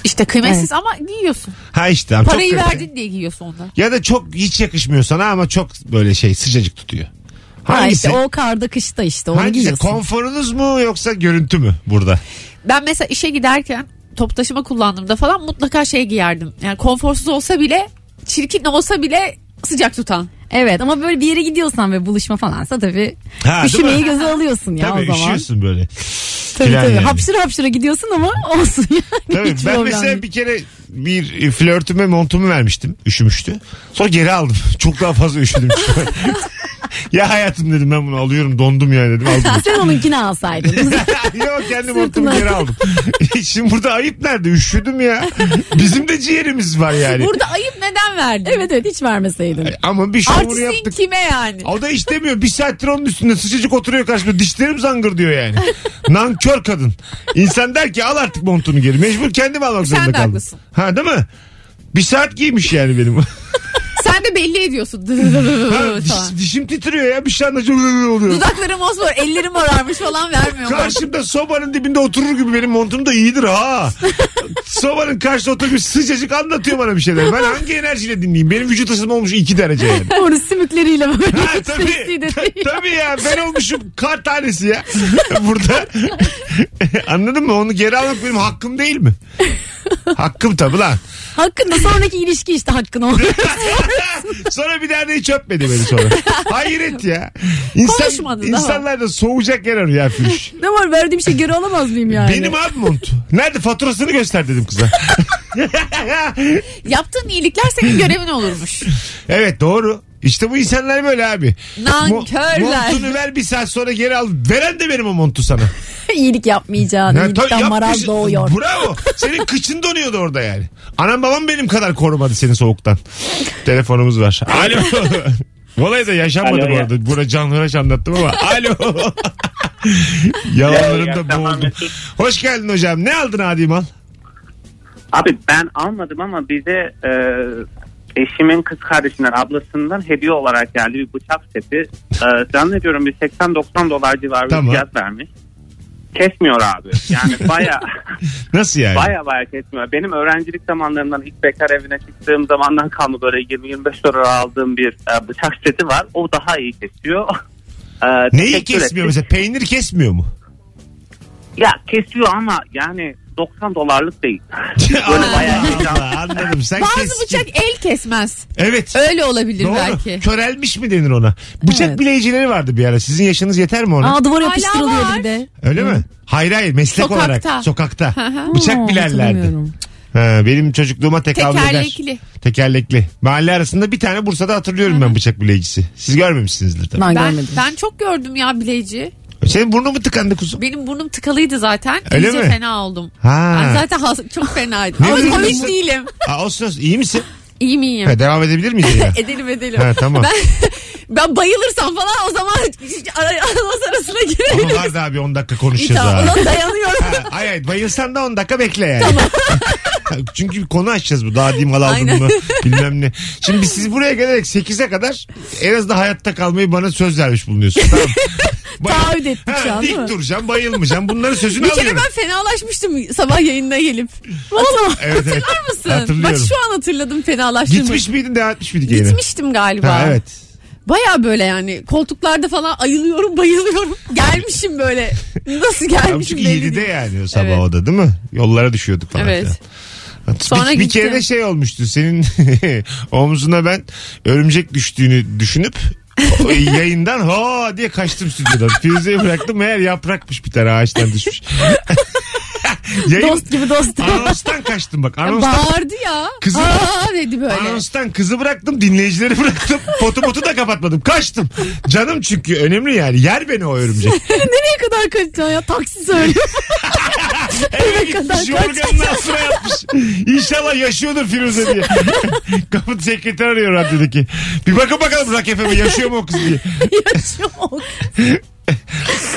[SPEAKER 3] İşte kıymetsiz ama giyiyorsun.
[SPEAKER 2] Ha işte. tamam, çok
[SPEAKER 3] Parayı
[SPEAKER 2] kalite.
[SPEAKER 3] verdin diye giyiyorsun ondan.
[SPEAKER 2] Ya da çok hiç yakışmıyor sana ama çok böyle şey sıcacık tutuyor.
[SPEAKER 4] Ha
[SPEAKER 2] Hangisi?
[SPEAKER 4] işte o karda kışta işte onu
[SPEAKER 2] Hangisi?
[SPEAKER 4] giyiyorsun.
[SPEAKER 2] Konforunuz mu yoksa görüntü mü burada?
[SPEAKER 3] Ben mesela işe giderken top taşıma kullandığımda falan mutlaka şey giyerdim. Yani konforsuz olsa bile çirkin olsa bile sıcak tutan.
[SPEAKER 4] Evet ama böyle bir yere gidiyorsan ve buluşma falansa tabii
[SPEAKER 2] Ha, değil mi?
[SPEAKER 4] üşümeyi göze alıyorsun ya
[SPEAKER 2] Tabii
[SPEAKER 4] o zaman.
[SPEAKER 2] üşüyorsun böyle.
[SPEAKER 4] Tabii
[SPEAKER 2] Filan
[SPEAKER 4] tabii.
[SPEAKER 2] yani.
[SPEAKER 4] Hapşıra hapşıra gidiyorsun ama [LAUGHS] olsun yani.
[SPEAKER 2] Tabii
[SPEAKER 4] Hiç
[SPEAKER 2] ben
[SPEAKER 4] problem
[SPEAKER 2] mesela
[SPEAKER 4] değil.
[SPEAKER 2] bir kere bir e, flörtüme montumu vermiştim. Üşümüştü. Sonra geri aldım. [LAUGHS] Çok daha fazla üşüdüm. [LAUGHS] ya hayatım dedim ben bunu alıyorum dondum ya
[SPEAKER 4] [LAUGHS]
[SPEAKER 2] dedim aldım. [LAUGHS]
[SPEAKER 4] Sen onunkini alsaydın.
[SPEAKER 2] Yok kendi montumu
[SPEAKER 4] Sırtına.
[SPEAKER 2] geri aldım. [LAUGHS] Şimdi burada ayıp nerede? Üşüdüm ya. Bizim de ciğerimiz var yani.
[SPEAKER 3] Burada ayıp neden verdin?
[SPEAKER 4] evet evet hiç vermeseydin.
[SPEAKER 2] Ama bir şovunu
[SPEAKER 3] Artistin
[SPEAKER 2] yaptık.
[SPEAKER 3] kime yani?
[SPEAKER 2] O da istemiyor. Bir saattir onun üstünde sıcacık oturuyor karşımda. Dişlerim zangır diyor yani. Nankör kadın. İnsan der ki al artık montunu geri. Mecbur kendim almak
[SPEAKER 3] Sen
[SPEAKER 2] zorunda
[SPEAKER 3] de
[SPEAKER 2] kaldım.
[SPEAKER 3] haklısın.
[SPEAKER 2] Ha değil mi? Bir saat giymiş yani benim.
[SPEAKER 3] Sen de belli ediyorsun.
[SPEAKER 2] [LAUGHS] Ha, diş-
[SPEAKER 3] falan.
[SPEAKER 2] dişim titriyor ya bir şey anlaşılıyor oluyor.
[SPEAKER 3] Dudaklarım mosmor, ellerim morarmış falan vermiyorlar.
[SPEAKER 2] Karşımda sobanın dibinde oturur gibi benim montum da iyidir ha. sobanın karşısında oturmuş sıcacık anlatıyor bana bir şeyler. Ben hangi enerjiyle dinleyeyim? Benim vücut ısınma olmuş 2 derece yani.
[SPEAKER 4] Orası sümükleriyle böyle. [LAUGHS]
[SPEAKER 2] Ha,
[SPEAKER 4] hiç sesli
[SPEAKER 2] tabii,
[SPEAKER 4] de değil.
[SPEAKER 2] tabii ya ben olmuşum kar tanesi ya [LAUGHS] burada. [LAUGHS] Anladın mı? Onu geri almak benim hakkım değil mi? Hakkım tabii lan. [LAUGHS]
[SPEAKER 4] Hakkında sonraki ilişki işte hakkın olur.
[SPEAKER 2] Sonra bir daha da hiç öpmedi beni sonra. Hayret ya. İnsan,
[SPEAKER 3] Konuşmadın daha.
[SPEAKER 2] insanlar da soğuyacak yer arıyor ya Firuş.
[SPEAKER 4] ne var verdiğim şey geri alamaz mıyım yani?
[SPEAKER 2] Benim abi mont. Nerede faturasını göster dedim kıza. [LAUGHS]
[SPEAKER 3] Yaptığın iyilikler senin görevin olurmuş.
[SPEAKER 2] evet doğru. İşte bu insanlar böyle abi.
[SPEAKER 3] Nankörler.
[SPEAKER 2] Mo- montunu ver bir saat sonra geri al. Veren de benim o montu sana.
[SPEAKER 4] [LAUGHS] İyilik yapmayacağın,
[SPEAKER 2] Ya, tabii
[SPEAKER 4] iyilikten maraz
[SPEAKER 2] yapmışsın.
[SPEAKER 4] doğuyor.
[SPEAKER 2] Bravo. Senin kıçın donuyordu orada yani. Anam babam benim kadar korumadı seni soğuktan. Telefonumuz var.
[SPEAKER 8] [LAUGHS]
[SPEAKER 2] Alo. Olay da yaşanmadı
[SPEAKER 7] Alo
[SPEAKER 2] bu
[SPEAKER 7] ya.
[SPEAKER 2] arada. Buna canlıraş anlattım ama. Alo.
[SPEAKER 8] [LAUGHS]
[SPEAKER 2] Yalanlarımda boğuldum. Hoş geldin hocam. Ne aldın Adi Mal?
[SPEAKER 8] Abi ben almadım ama bize e, eşimin kız kardeşinden ablasından hediye olarak geldi bir bıçak seti. E, zannediyorum bir 80-90 dolar civarı
[SPEAKER 2] Tamam.
[SPEAKER 8] bir fiyat vermiş. Kesmiyor abi.
[SPEAKER 2] [LAUGHS]
[SPEAKER 8] Yani baya
[SPEAKER 2] Nasıl yani?
[SPEAKER 8] baya baya kesmiyor. Benim öğrencilik zamanlarımdan ilk bekar evine çıktığım zamandan kalma böyle 20-25 dolara aldığım bir e, bıçak seti var. O daha iyi kesiyor. E,
[SPEAKER 2] Neyi
[SPEAKER 8] teşekkür
[SPEAKER 2] kesmiyor
[SPEAKER 8] ettim. [LAUGHS]
[SPEAKER 2] mesela? Peynir kesmiyor mu?
[SPEAKER 8] Ya kesiyor ama yani 90 dolarlık değil. [LAUGHS]
[SPEAKER 2] Allah
[SPEAKER 8] bayağı
[SPEAKER 2] Allah anladım. Sen
[SPEAKER 3] Bazı
[SPEAKER 2] keskin.
[SPEAKER 3] bıçak el kesmez.
[SPEAKER 2] Evet.
[SPEAKER 3] Öyle olabilir
[SPEAKER 2] Doğru.
[SPEAKER 3] belki.
[SPEAKER 2] Körelmiş mi denir ona? Bıçak
[SPEAKER 4] Evet.
[SPEAKER 2] bileyicileri vardı bir ara. Sizin yaşınız yeter mi ona?
[SPEAKER 4] Aa duvara
[SPEAKER 3] Hala
[SPEAKER 4] yapıştırılıyordu
[SPEAKER 3] var.
[SPEAKER 4] bir de.
[SPEAKER 2] Öyle mi? Hayır hayır meslek
[SPEAKER 3] Sokakta.
[SPEAKER 2] olarak. Sokakta.
[SPEAKER 3] hı.
[SPEAKER 4] Aa,
[SPEAKER 2] [LAUGHS] Bıçak bilerlerdi.
[SPEAKER 4] hatırlamıyorum.
[SPEAKER 2] Ha, benim çocukluğuma tekabül eder.
[SPEAKER 3] Tekerlekli.
[SPEAKER 2] Tekerlekli. Mahalle arasında bir tane Bursa'da hatırlıyorum ben bıçak bileyicisi. Siz görmemişsinizdir tabii.
[SPEAKER 4] Ben,
[SPEAKER 3] Ben,
[SPEAKER 4] görmedim.
[SPEAKER 3] ben çok gördüm ya bileci.
[SPEAKER 2] Senin burnun mu tıkandı kuzum?
[SPEAKER 3] Benim burnum tıkalıydı zaten.
[SPEAKER 2] Öyle
[SPEAKER 3] İyice
[SPEAKER 2] mi?
[SPEAKER 3] fena oldum.
[SPEAKER 2] Ha.
[SPEAKER 3] Ben zaten has- çok fenaydım.
[SPEAKER 2] Ne
[SPEAKER 3] Ama
[SPEAKER 2] diyorsun?
[SPEAKER 3] komik değilim.
[SPEAKER 2] Aa, olsun olsun. İyi misin?
[SPEAKER 3] İyiyim iyiyim.
[SPEAKER 2] Ha, devam edebilir
[SPEAKER 3] [LAUGHS]
[SPEAKER 2] miyiz? ya?
[SPEAKER 3] Edelim edelim.
[SPEAKER 2] Ha, tamam.
[SPEAKER 3] Ben, [LAUGHS] ben bayılırsam falan o zaman [LAUGHS] ara- anons arasına
[SPEAKER 2] Ama
[SPEAKER 3] girebilirim.
[SPEAKER 2] vardı abi 10 dakika
[SPEAKER 3] İyi,
[SPEAKER 2] konuşacağız
[SPEAKER 3] Tamam
[SPEAKER 2] daha.
[SPEAKER 3] ona
[SPEAKER 2] [LAUGHS]
[SPEAKER 3] dayanıyorum.
[SPEAKER 2] Ha, Ay ay bayılsan da 10 dakika bekle yani. [LAUGHS] Çünkü bir konu açacağız bu. Daha diyeyim mal aldım
[SPEAKER 3] Aynen.
[SPEAKER 2] mı bilmem ne. Şimdi biz- siz buraya gelerek 8'e kadar en azından hayatta kalmayı bana söz vermiş bulunuyorsunuz.
[SPEAKER 3] [LAUGHS]
[SPEAKER 2] Tamam. Bayıl-
[SPEAKER 4] Taahhüt ettik şu an, değil
[SPEAKER 2] Dik
[SPEAKER 4] mi?
[SPEAKER 2] duracağım bayılmayacağım. Bunların sözünü
[SPEAKER 3] Bir kere
[SPEAKER 2] alıyorum.
[SPEAKER 3] ben fenalaşmıştım sabah yayınına gelip. Valla
[SPEAKER 2] Evet, evet.
[SPEAKER 3] hatırlar mısın?
[SPEAKER 2] Hatırlıyorum.
[SPEAKER 3] Bak şu an hatırladım fenalaştığımı.
[SPEAKER 2] Gitmiş miydin devam etmiş miydik yayına?
[SPEAKER 3] Gitmiştim galiba.
[SPEAKER 2] Ha, evet.
[SPEAKER 3] Baya böyle yani koltuklarda falan ayılıyorum
[SPEAKER 2] [LAUGHS]
[SPEAKER 3] bayılıyorum. Gelmişim böyle. Nasıl
[SPEAKER 2] Tam
[SPEAKER 3] gelmişim
[SPEAKER 2] çünkü
[SPEAKER 3] belli
[SPEAKER 2] 7'de
[SPEAKER 3] değil.
[SPEAKER 2] yani o sabah
[SPEAKER 3] Evet.
[SPEAKER 2] o da değil mi? Yollara düşüyorduk falan.
[SPEAKER 3] Evet.
[SPEAKER 2] filan.
[SPEAKER 3] Sonra
[SPEAKER 2] bir, bir kere
[SPEAKER 3] gittim.
[SPEAKER 2] de şey olmuştu senin [LAUGHS] omzuna ben örümcek düştüğünü düşünüp o yayından ha diye kaçtım stüdyodan. Firuze'yi bıraktım meğer yaprakmış bir tane ağaçtan düşmüş. [LAUGHS] Yayın,
[SPEAKER 4] Dost gibi dost.
[SPEAKER 2] anonstan kaçtım bak. Anonstan,
[SPEAKER 3] Bağırdı ya.
[SPEAKER 2] Kızım-
[SPEAKER 3] Aa dedi böyle.
[SPEAKER 2] anonstan kızı bıraktım dinleyicileri bıraktım. Potu potu da kapatmadım kaçtım. Canım çünkü önemli yani yer beni o örümcek.
[SPEAKER 4] Nereye kadar kaçacaksın ya? Taksi
[SPEAKER 2] [LAUGHS]
[SPEAKER 4] söylüyor.
[SPEAKER 2] Eve
[SPEAKER 4] kadar
[SPEAKER 2] gitmiş yorganın altına yatmış. İnşallah yaşıyordur Firuze diye. [LAUGHS] Kapı sekreter arıyor radyodaki. Bir bakın bakalım Rock FM 'e yaşıyor mu o kız diye.
[SPEAKER 4] Çok.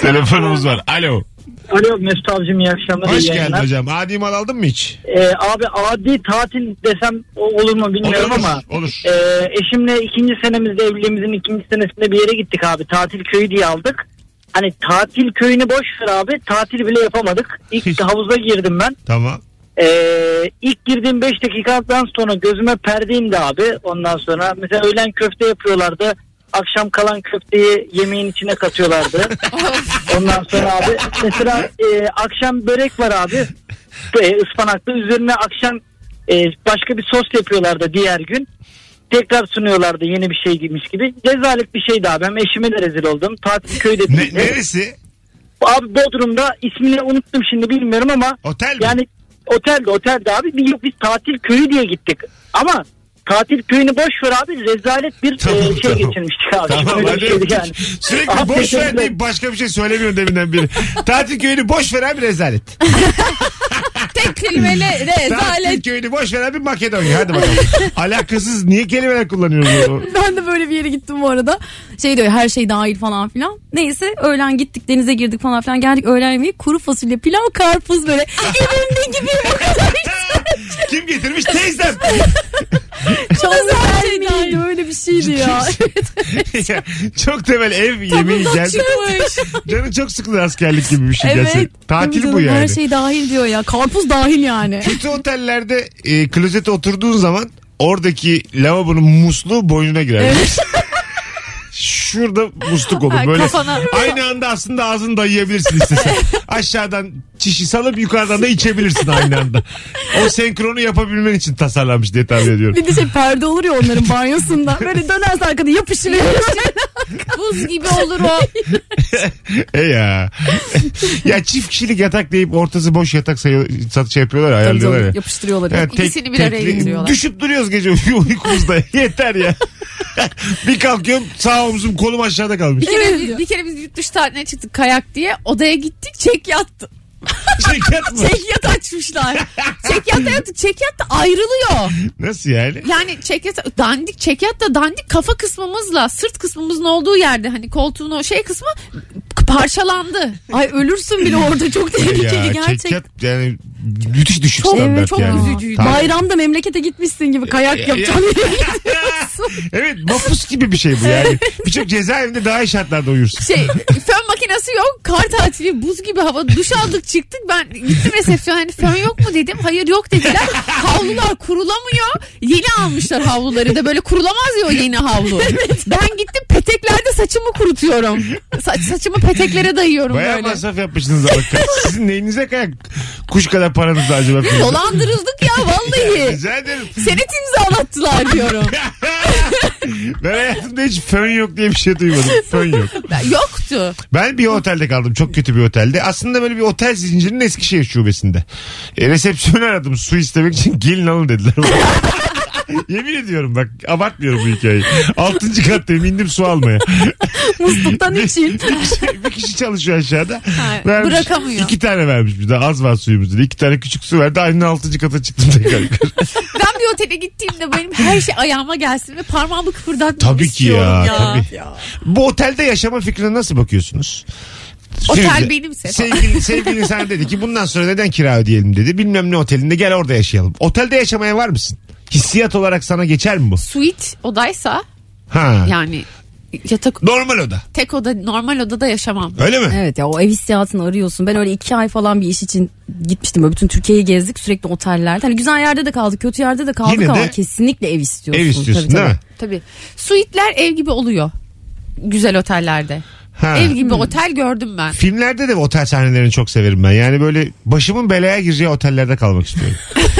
[SPEAKER 2] Telefonumuz var. Alo.
[SPEAKER 9] Alo Mesut abicim iyi akşamlar.
[SPEAKER 2] Hoş
[SPEAKER 9] iyi
[SPEAKER 2] geldin
[SPEAKER 9] yayınlar.
[SPEAKER 2] hocam. Adi mal aldın mı hiç?
[SPEAKER 9] Ee, abi adi tatil desem o- olur mu bilmiyorum
[SPEAKER 2] olur.
[SPEAKER 9] ama.
[SPEAKER 2] Olur.
[SPEAKER 9] e, eşimle ikinci senemizde evliliğimizin ikinci senesinde bir yere gittik abi. Tatil köyü diye aldık. Hani tatil köyünü boş ver abi. Tatil bile yapamadık. İlk havuza girdim ben.
[SPEAKER 2] Tamam.
[SPEAKER 9] Ee, ilk girdiğim 5 dakikadan sonra gözüme perde indi abi. Ondan sonra mesela öğlen köfte yapıyorlardı. Akşam kalan köfteyi yemeğin içine katıyorlardı. Ondan sonra abi mesela e, akşam börek var abi. E, ıspanaklı üzerine akşam e, başka bir sos yapıyorlardı diğer gün. Tekrar sunuyorlardı yeni bir şey gibiymiş gibi. Rezalet bir şeydi abi. Hem eşime de rezil oldum. Tatil köyde
[SPEAKER 2] Ne,
[SPEAKER 9] değildi.
[SPEAKER 2] neresi?
[SPEAKER 9] Abi Bodrum'da ismini unuttum şimdi bilmiyorum ama
[SPEAKER 2] Otel mi?
[SPEAKER 9] yani otelde otelde abi biz, biz tatil köyü diye gittik. Ama tatil köyünü boş ver abi rezalet bir
[SPEAKER 2] Tamam,
[SPEAKER 9] e, şey
[SPEAKER 2] tamam.
[SPEAKER 9] geçirmiştik abi.
[SPEAKER 2] Tamam
[SPEAKER 9] Öyle bir
[SPEAKER 2] hadi
[SPEAKER 9] şeydi
[SPEAKER 2] öptük.
[SPEAKER 9] Şey yani.
[SPEAKER 2] Sürekli
[SPEAKER 9] Abi,
[SPEAKER 2] boş ver
[SPEAKER 9] teşekkürler.
[SPEAKER 2] deyip başka bir şey söylemiyorsun deminden
[SPEAKER 9] [LAUGHS]
[SPEAKER 2] beri. Tatil köyünü boş veren bir rezalet.
[SPEAKER 3] Tek kelimeyle
[SPEAKER 2] Tatil
[SPEAKER 3] rezalet.
[SPEAKER 2] köyünü boş veren bir Makedonya.
[SPEAKER 4] [LAUGHS]
[SPEAKER 2] Hadi bakalım. Alakasız niye kelimeler kullanıyoruz? o-
[SPEAKER 4] Ben de böyle bir yere gittim bu arada. Şey diyor her şey dahil falan filan. Neyse öğlen gittik denize girdik falan filan. Geldik öğlen yemeği kuru fasulye pilav karpuz
[SPEAKER 2] [LAUGHS]
[SPEAKER 4] böyle. Evimde gibi bu kadar.
[SPEAKER 2] Kim getirmiş? Teyzem.
[SPEAKER 4] Çok
[SPEAKER 3] her şey
[SPEAKER 4] güzeldi
[SPEAKER 3] dahil.
[SPEAKER 4] öyle bir şeydi ya.
[SPEAKER 2] Ya, [LAUGHS] çok temel ev yemeği
[SPEAKER 3] Bundan
[SPEAKER 2] geldi.
[SPEAKER 3] çıkmış.
[SPEAKER 2] Canı çok sıkılır askerlik gibi bir şey
[SPEAKER 4] evet.
[SPEAKER 2] gelse.
[SPEAKER 4] Tabii
[SPEAKER 2] Tatil bu
[SPEAKER 4] canım,
[SPEAKER 2] yani.
[SPEAKER 4] Her şey dahil diyor ya. Karpuz dahil yani.
[SPEAKER 2] Kötü otellerde e, klozete oturduğun zaman oradaki lavabonun musluğu boynuna girer. Şurada musluk olur.
[SPEAKER 3] Ha,
[SPEAKER 2] Böyle
[SPEAKER 3] kafana.
[SPEAKER 2] aynı anda aslında ağzını dayayabilirsin istesen. Aşağıdan çişi salıp yukarıdan da içebilirsin aynı anda. O senkronu yapabilmen için tasarlanmış diye tahmin ediyorum.
[SPEAKER 4] Bir de şey perde olur ya onların banyosunda. Böyle dönerse arkada yapışılıyor.
[SPEAKER 3] Buz gibi
[SPEAKER 4] [LAUGHS]
[SPEAKER 3] olur o.
[SPEAKER 2] E ya. ya çift kişilik yatak deyip ortası boş yatak sayıyor, satış yapıyorlar ya, ayarlıyorlar Hani ya.
[SPEAKER 4] Yapıştırıyorlar.
[SPEAKER 2] Evet,
[SPEAKER 3] İkisini bir araya indiriyorlar.
[SPEAKER 2] Düşüp duruyoruz gece [LAUGHS] uy- uykumuzda. Yeter ya. [LAUGHS] bir kalkıyorum sağ omzum kolum
[SPEAKER 3] [LAUGHS]
[SPEAKER 2] aşağıda kalmış.
[SPEAKER 3] Bir kere, bir, bir kere biz yurt dışı tatiline çıktık kayak diye. Odaya gittik çek yattı.
[SPEAKER 2] Çekyat mı?
[SPEAKER 3] Çekyat [LAUGHS] açmışlar. Çekyatta yattık. Çekyat da ayrılıyor. [LAUGHS]
[SPEAKER 2] Nasıl yani?
[SPEAKER 3] Yani çekyat dandik çekyat da dandik kafa kısmımızla sırt kısmımızın olduğu yerde hani koltuğun o şey kısmı parçalandı.
[SPEAKER 4] Ay ölürsün bile orada çok tehlikeli
[SPEAKER 2] ya
[SPEAKER 4] gerçek.
[SPEAKER 2] çekyat yani müthiş düşük
[SPEAKER 4] Çok,
[SPEAKER 2] standart
[SPEAKER 4] çok
[SPEAKER 2] yani.
[SPEAKER 4] üzücüydü.
[SPEAKER 2] Tabii.
[SPEAKER 4] Bayramda memlekete gitmişsin gibi kayak yapacaksın.
[SPEAKER 2] [LAUGHS] evet mapus gibi bir şey bu yani. Birçok cezaevinde daha iyi şartlarda uyursun.
[SPEAKER 3] Şey fön makinesi yok. Kar tatili buz gibi hava. Duş aldık çıktık. Ben gittim resepsiyona hani fön yok mu dedim. Hayır yok dediler. Havlular kurulamıyor. Yeni almışlar havluları da böyle kurulamaz ya o yeni havlu. Ben gittim peteklerde saçımı kurutuyorum. Sa- saçımı peteklere dayıyorum
[SPEAKER 2] Baya
[SPEAKER 3] böyle. [LAUGHS]
[SPEAKER 2] masraf yapmışsınız. ama. Sizin neyinize kayak kuş kadar paranız da acaba?
[SPEAKER 4] Dolandırıldık ya vallahi.
[SPEAKER 2] Rica ederim. [LAUGHS]
[SPEAKER 4] Senet imzalattılar diyorum.
[SPEAKER 2] Ben hayatımda hiç fön yok diye bir şey duymadım. Fön yok.
[SPEAKER 3] Yoktu.
[SPEAKER 2] Ben bir otelde kaldım. Çok kötü bir otelde. Aslında böyle bir otel zincirinin Eskişehir şubesinde. E, resepsiyonu aradım su istemek için gelin alın dediler. [LAUGHS] Yemin ediyorum bak abartmıyorum bu hikayeyi. Altıncı kattayım indim su almaya.
[SPEAKER 4] Musluktan için.
[SPEAKER 2] bir, kişi, bir kişi çalışıyor aşağıda.
[SPEAKER 3] Ha, bırakamıyor.
[SPEAKER 2] İki tane vermiş bir de az var suyumuz dedi. İki tane küçük su verdi. Aynı altıncı kata çıktım tekrar. yukarı.
[SPEAKER 3] Ben bir otele gittiğimde benim her şey ayağıma gelsin ve parmağımı kıpırdatmak
[SPEAKER 2] Tabii ki ya,
[SPEAKER 3] istiyorum ya.
[SPEAKER 2] tabii.
[SPEAKER 3] Ya.
[SPEAKER 2] bu otelde yaşama fikrine nasıl bakıyorsunuz?
[SPEAKER 3] Otel
[SPEAKER 2] Sürekli-
[SPEAKER 3] benimse. [LAUGHS]
[SPEAKER 2] Sevgili, sevgilin sana dedi ki bundan sonra neden kira ödeyelim dedi. Bilmem ne otelinde gel orada yaşayalım. Otelde yaşamaya var mısın? Hissiyat olarak sana geçer mi bu?
[SPEAKER 3] Suite odaysa
[SPEAKER 2] Ha.
[SPEAKER 3] yani yatak
[SPEAKER 2] Normal oda.
[SPEAKER 3] tek oda normal odada yaşamam.
[SPEAKER 2] Öyle mi?
[SPEAKER 4] Evet ya o ev hissiyatını arıyorsun. Ben öyle iki ay falan bir iş için gitmiştim. Böyle bütün Türkiye'yi gezdik sürekli otellerde. Hani güzel yerde de kaldık kötü yerde de kaldık
[SPEAKER 2] Yine de
[SPEAKER 4] ama kesinlikle ev istiyorsun.
[SPEAKER 2] Ev istiyorsun
[SPEAKER 4] Tabii,
[SPEAKER 2] değil mi?
[SPEAKER 3] Tabii. Suitler ev gibi oluyor. Güzel otellerde.
[SPEAKER 2] Ha.
[SPEAKER 3] Ev gibi otel gördüm ben.
[SPEAKER 2] Filmlerde de otel sahnelerini çok severim ben. Yani böyle başımın belaya gireceği otellerde
[SPEAKER 3] [LAUGHS]
[SPEAKER 2] kalmak istiyorum.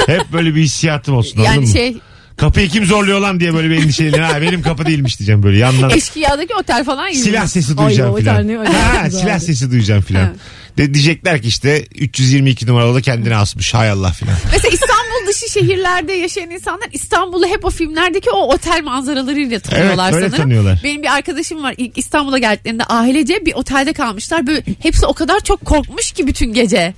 [SPEAKER 2] Hep böyle bir hissiyatım olsun anladın
[SPEAKER 3] Yani
[SPEAKER 2] mı?
[SPEAKER 3] şey
[SPEAKER 2] Kapıyı kim zorluyor lan diye böyle bir endişeyle. Ha benim kapı değilmiş diyeceğim
[SPEAKER 3] [LAUGHS]
[SPEAKER 2] böyle yandan.
[SPEAKER 3] eşkıyadaki otel falan gibi.
[SPEAKER 2] Silah sesi
[SPEAKER 4] Ay,
[SPEAKER 2] duyacağım
[SPEAKER 4] o
[SPEAKER 2] filan.
[SPEAKER 4] tane acayip
[SPEAKER 2] Ha,
[SPEAKER 4] güzeldi.
[SPEAKER 2] silah sesi duyacağım filan.
[SPEAKER 3] Evet.
[SPEAKER 2] De, diyecekler ki işte 322 numaralı da kendini asmış hay Allah
[SPEAKER 4] [LAUGHS]
[SPEAKER 2] filan.
[SPEAKER 3] Mesela İstanbul dışı şehirlerde yaşayan insanlar İstanbul'u hep o filmlerdeki o otel manzaralarıyla tanıyorlar
[SPEAKER 2] Evet, öyle
[SPEAKER 3] sanırım.
[SPEAKER 2] tanıyorlar.
[SPEAKER 3] Benim bir arkadaşım var ilk İstanbul'a geldiklerinde ailece bir otelde kalmışlar. Böyle hepsi o kadar çok korkmuş ki bütün gece.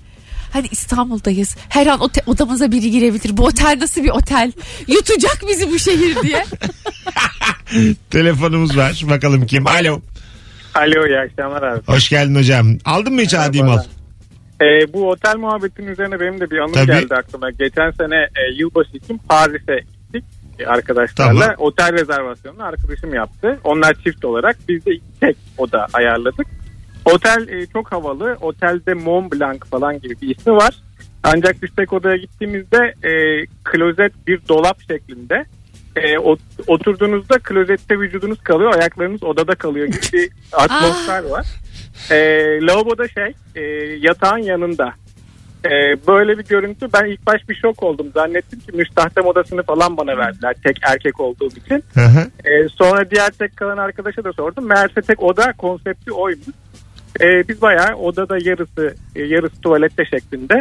[SPEAKER 3] Hani İstanbul'dayız. Her an ote- odamıza biri girebilir. Bu otel nasıl bir otel? Yutacak bizi bu şehir diye.
[SPEAKER 2] Telefonumuz var bakalım kim. Alo.
[SPEAKER 7] Alo iyi akşamlar abi.
[SPEAKER 2] Hoş geldin hocam. Aldın mı hiç adi mal?
[SPEAKER 7] Ee, bu otel muhabbetinin üzerine benim de bir anım
[SPEAKER 2] Tabii.
[SPEAKER 7] geldi aklıma. Geçen sene e, yılbaşı için Paris'e gittik e, arkadaşlarla.
[SPEAKER 2] Tamam.
[SPEAKER 7] Otel rezervasyonunu arkadaşım yaptı. Onlar çift olarak biz de iki tek oda ayarladık. Otel e, çok havalı. Otelde Mont Blanc falan gibi bir ismi var. Ancak biz tek odaya gittiğimizde e, klozet bir dolap şeklinde. E, ot- oturduğunuzda klozette vücudunuz kalıyor, ayaklarınız odada kalıyor gibi bir atmosfer var. E, lavaboda şey, e, yatağın yanında. E, böyle bir görüntü. Ben ilk baş bir şok oldum. Zannettim ki müstahdem odasını falan bana verdiler. Tek erkek olduğum için.
[SPEAKER 2] Hı hı.
[SPEAKER 7] E, sonra diğer tek kalan arkadaşa da sordum. Meğerse tek oda konsepti oymuş. E, biz bayağı odada yarısı e, yarısı tuvalette şeklinde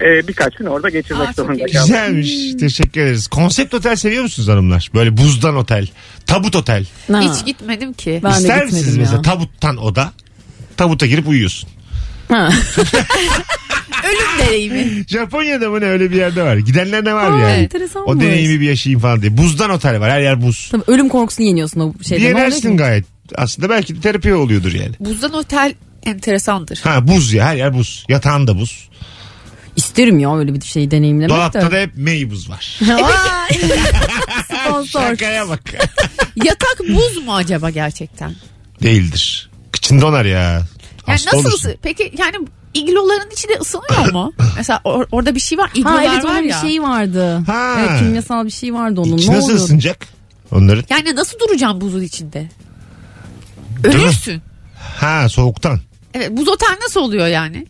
[SPEAKER 7] e, birkaç gün orada geçirmek
[SPEAKER 3] Aa, çok
[SPEAKER 7] zorunda
[SPEAKER 3] iyi.
[SPEAKER 7] kaldık.
[SPEAKER 2] Güzelmiş. Teşekkür ederiz. Konsept otel seviyor musunuz hanımlar? Böyle buzdan otel, tabut otel.
[SPEAKER 4] Ha.
[SPEAKER 3] Hiç gitmedim ki.
[SPEAKER 4] Ben de
[SPEAKER 2] İster
[SPEAKER 4] gitmedim
[SPEAKER 2] misiniz
[SPEAKER 4] ya.
[SPEAKER 2] mesela tabuttan oda? Tabuta girip uyuyorsun.
[SPEAKER 4] Ha. [LAUGHS]
[SPEAKER 3] Ölüm dereyi mi?
[SPEAKER 2] Japonya'da mı ne öyle bir yerde var. Gidenler ne var
[SPEAKER 4] Aa,
[SPEAKER 2] yani?
[SPEAKER 4] enteresan
[SPEAKER 2] O
[SPEAKER 4] bu.
[SPEAKER 2] deneyimi bir yaşayayım falan diye. Buzdan otel var. Her yer buz.
[SPEAKER 4] Tabii ölüm korkusunu yeniyorsun o şeyden. Ne oluyor
[SPEAKER 2] Yenersin
[SPEAKER 4] ki?
[SPEAKER 2] gayet. Aslında belki de terapi oluyordur yani.
[SPEAKER 3] Buzdan otel enteresandır.
[SPEAKER 2] Ha buz ya her yer buz. Yatağın da buz.
[SPEAKER 4] İsterim ya öyle bir şey deneyimlemek
[SPEAKER 2] Dolapta
[SPEAKER 4] de.
[SPEAKER 2] da hep mey buz var.
[SPEAKER 3] E
[SPEAKER 4] Vay. Sponsor.
[SPEAKER 2] Şakaya bak.
[SPEAKER 3] Yatak buz mu acaba gerçekten?
[SPEAKER 2] Değildir. Kıçın donar ya.
[SPEAKER 3] Yani
[SPEAKER 2] Hasta
[SPEAKER 3] nasıl
[SPEAKER 2] olursun.
[SPEAKER 3] ısı- Peki yani igloların içi de ısınıyor
[SPEAKER 2] [COUGHS]
[SPEAKER 3] mu? Mesela or- orada bir şey var. İglolar
[SPEAKER 4] Ha evet
[SPEAKER 3] var
[SPEAKER 4] onun bir
[SPEAKER 3] ya.
[SPEAKER 4] şeyi vardı.
[SPEAKER 2] Ha.
[SPEAKER 4] Evet, kimyasal bir şey vardı onun.
[SPEAKER 2] İçi
[SPEAKER 4] ne
[SPEAKER 2] nasıl
[SPEAKER 4] oluyordu?
[SPEAKER 2] ısınacak? Onların.
[SPEAKER 3] Yani nasıl duracağım buzun içinde?
[SPEAKER 2] Değil mi?
[SPEAKER 3] Ölürsün.
[SPEAKER 2] Ha soğuktan.
[SPEAKER 3] Evet, buz otel nasıl oluyor yani?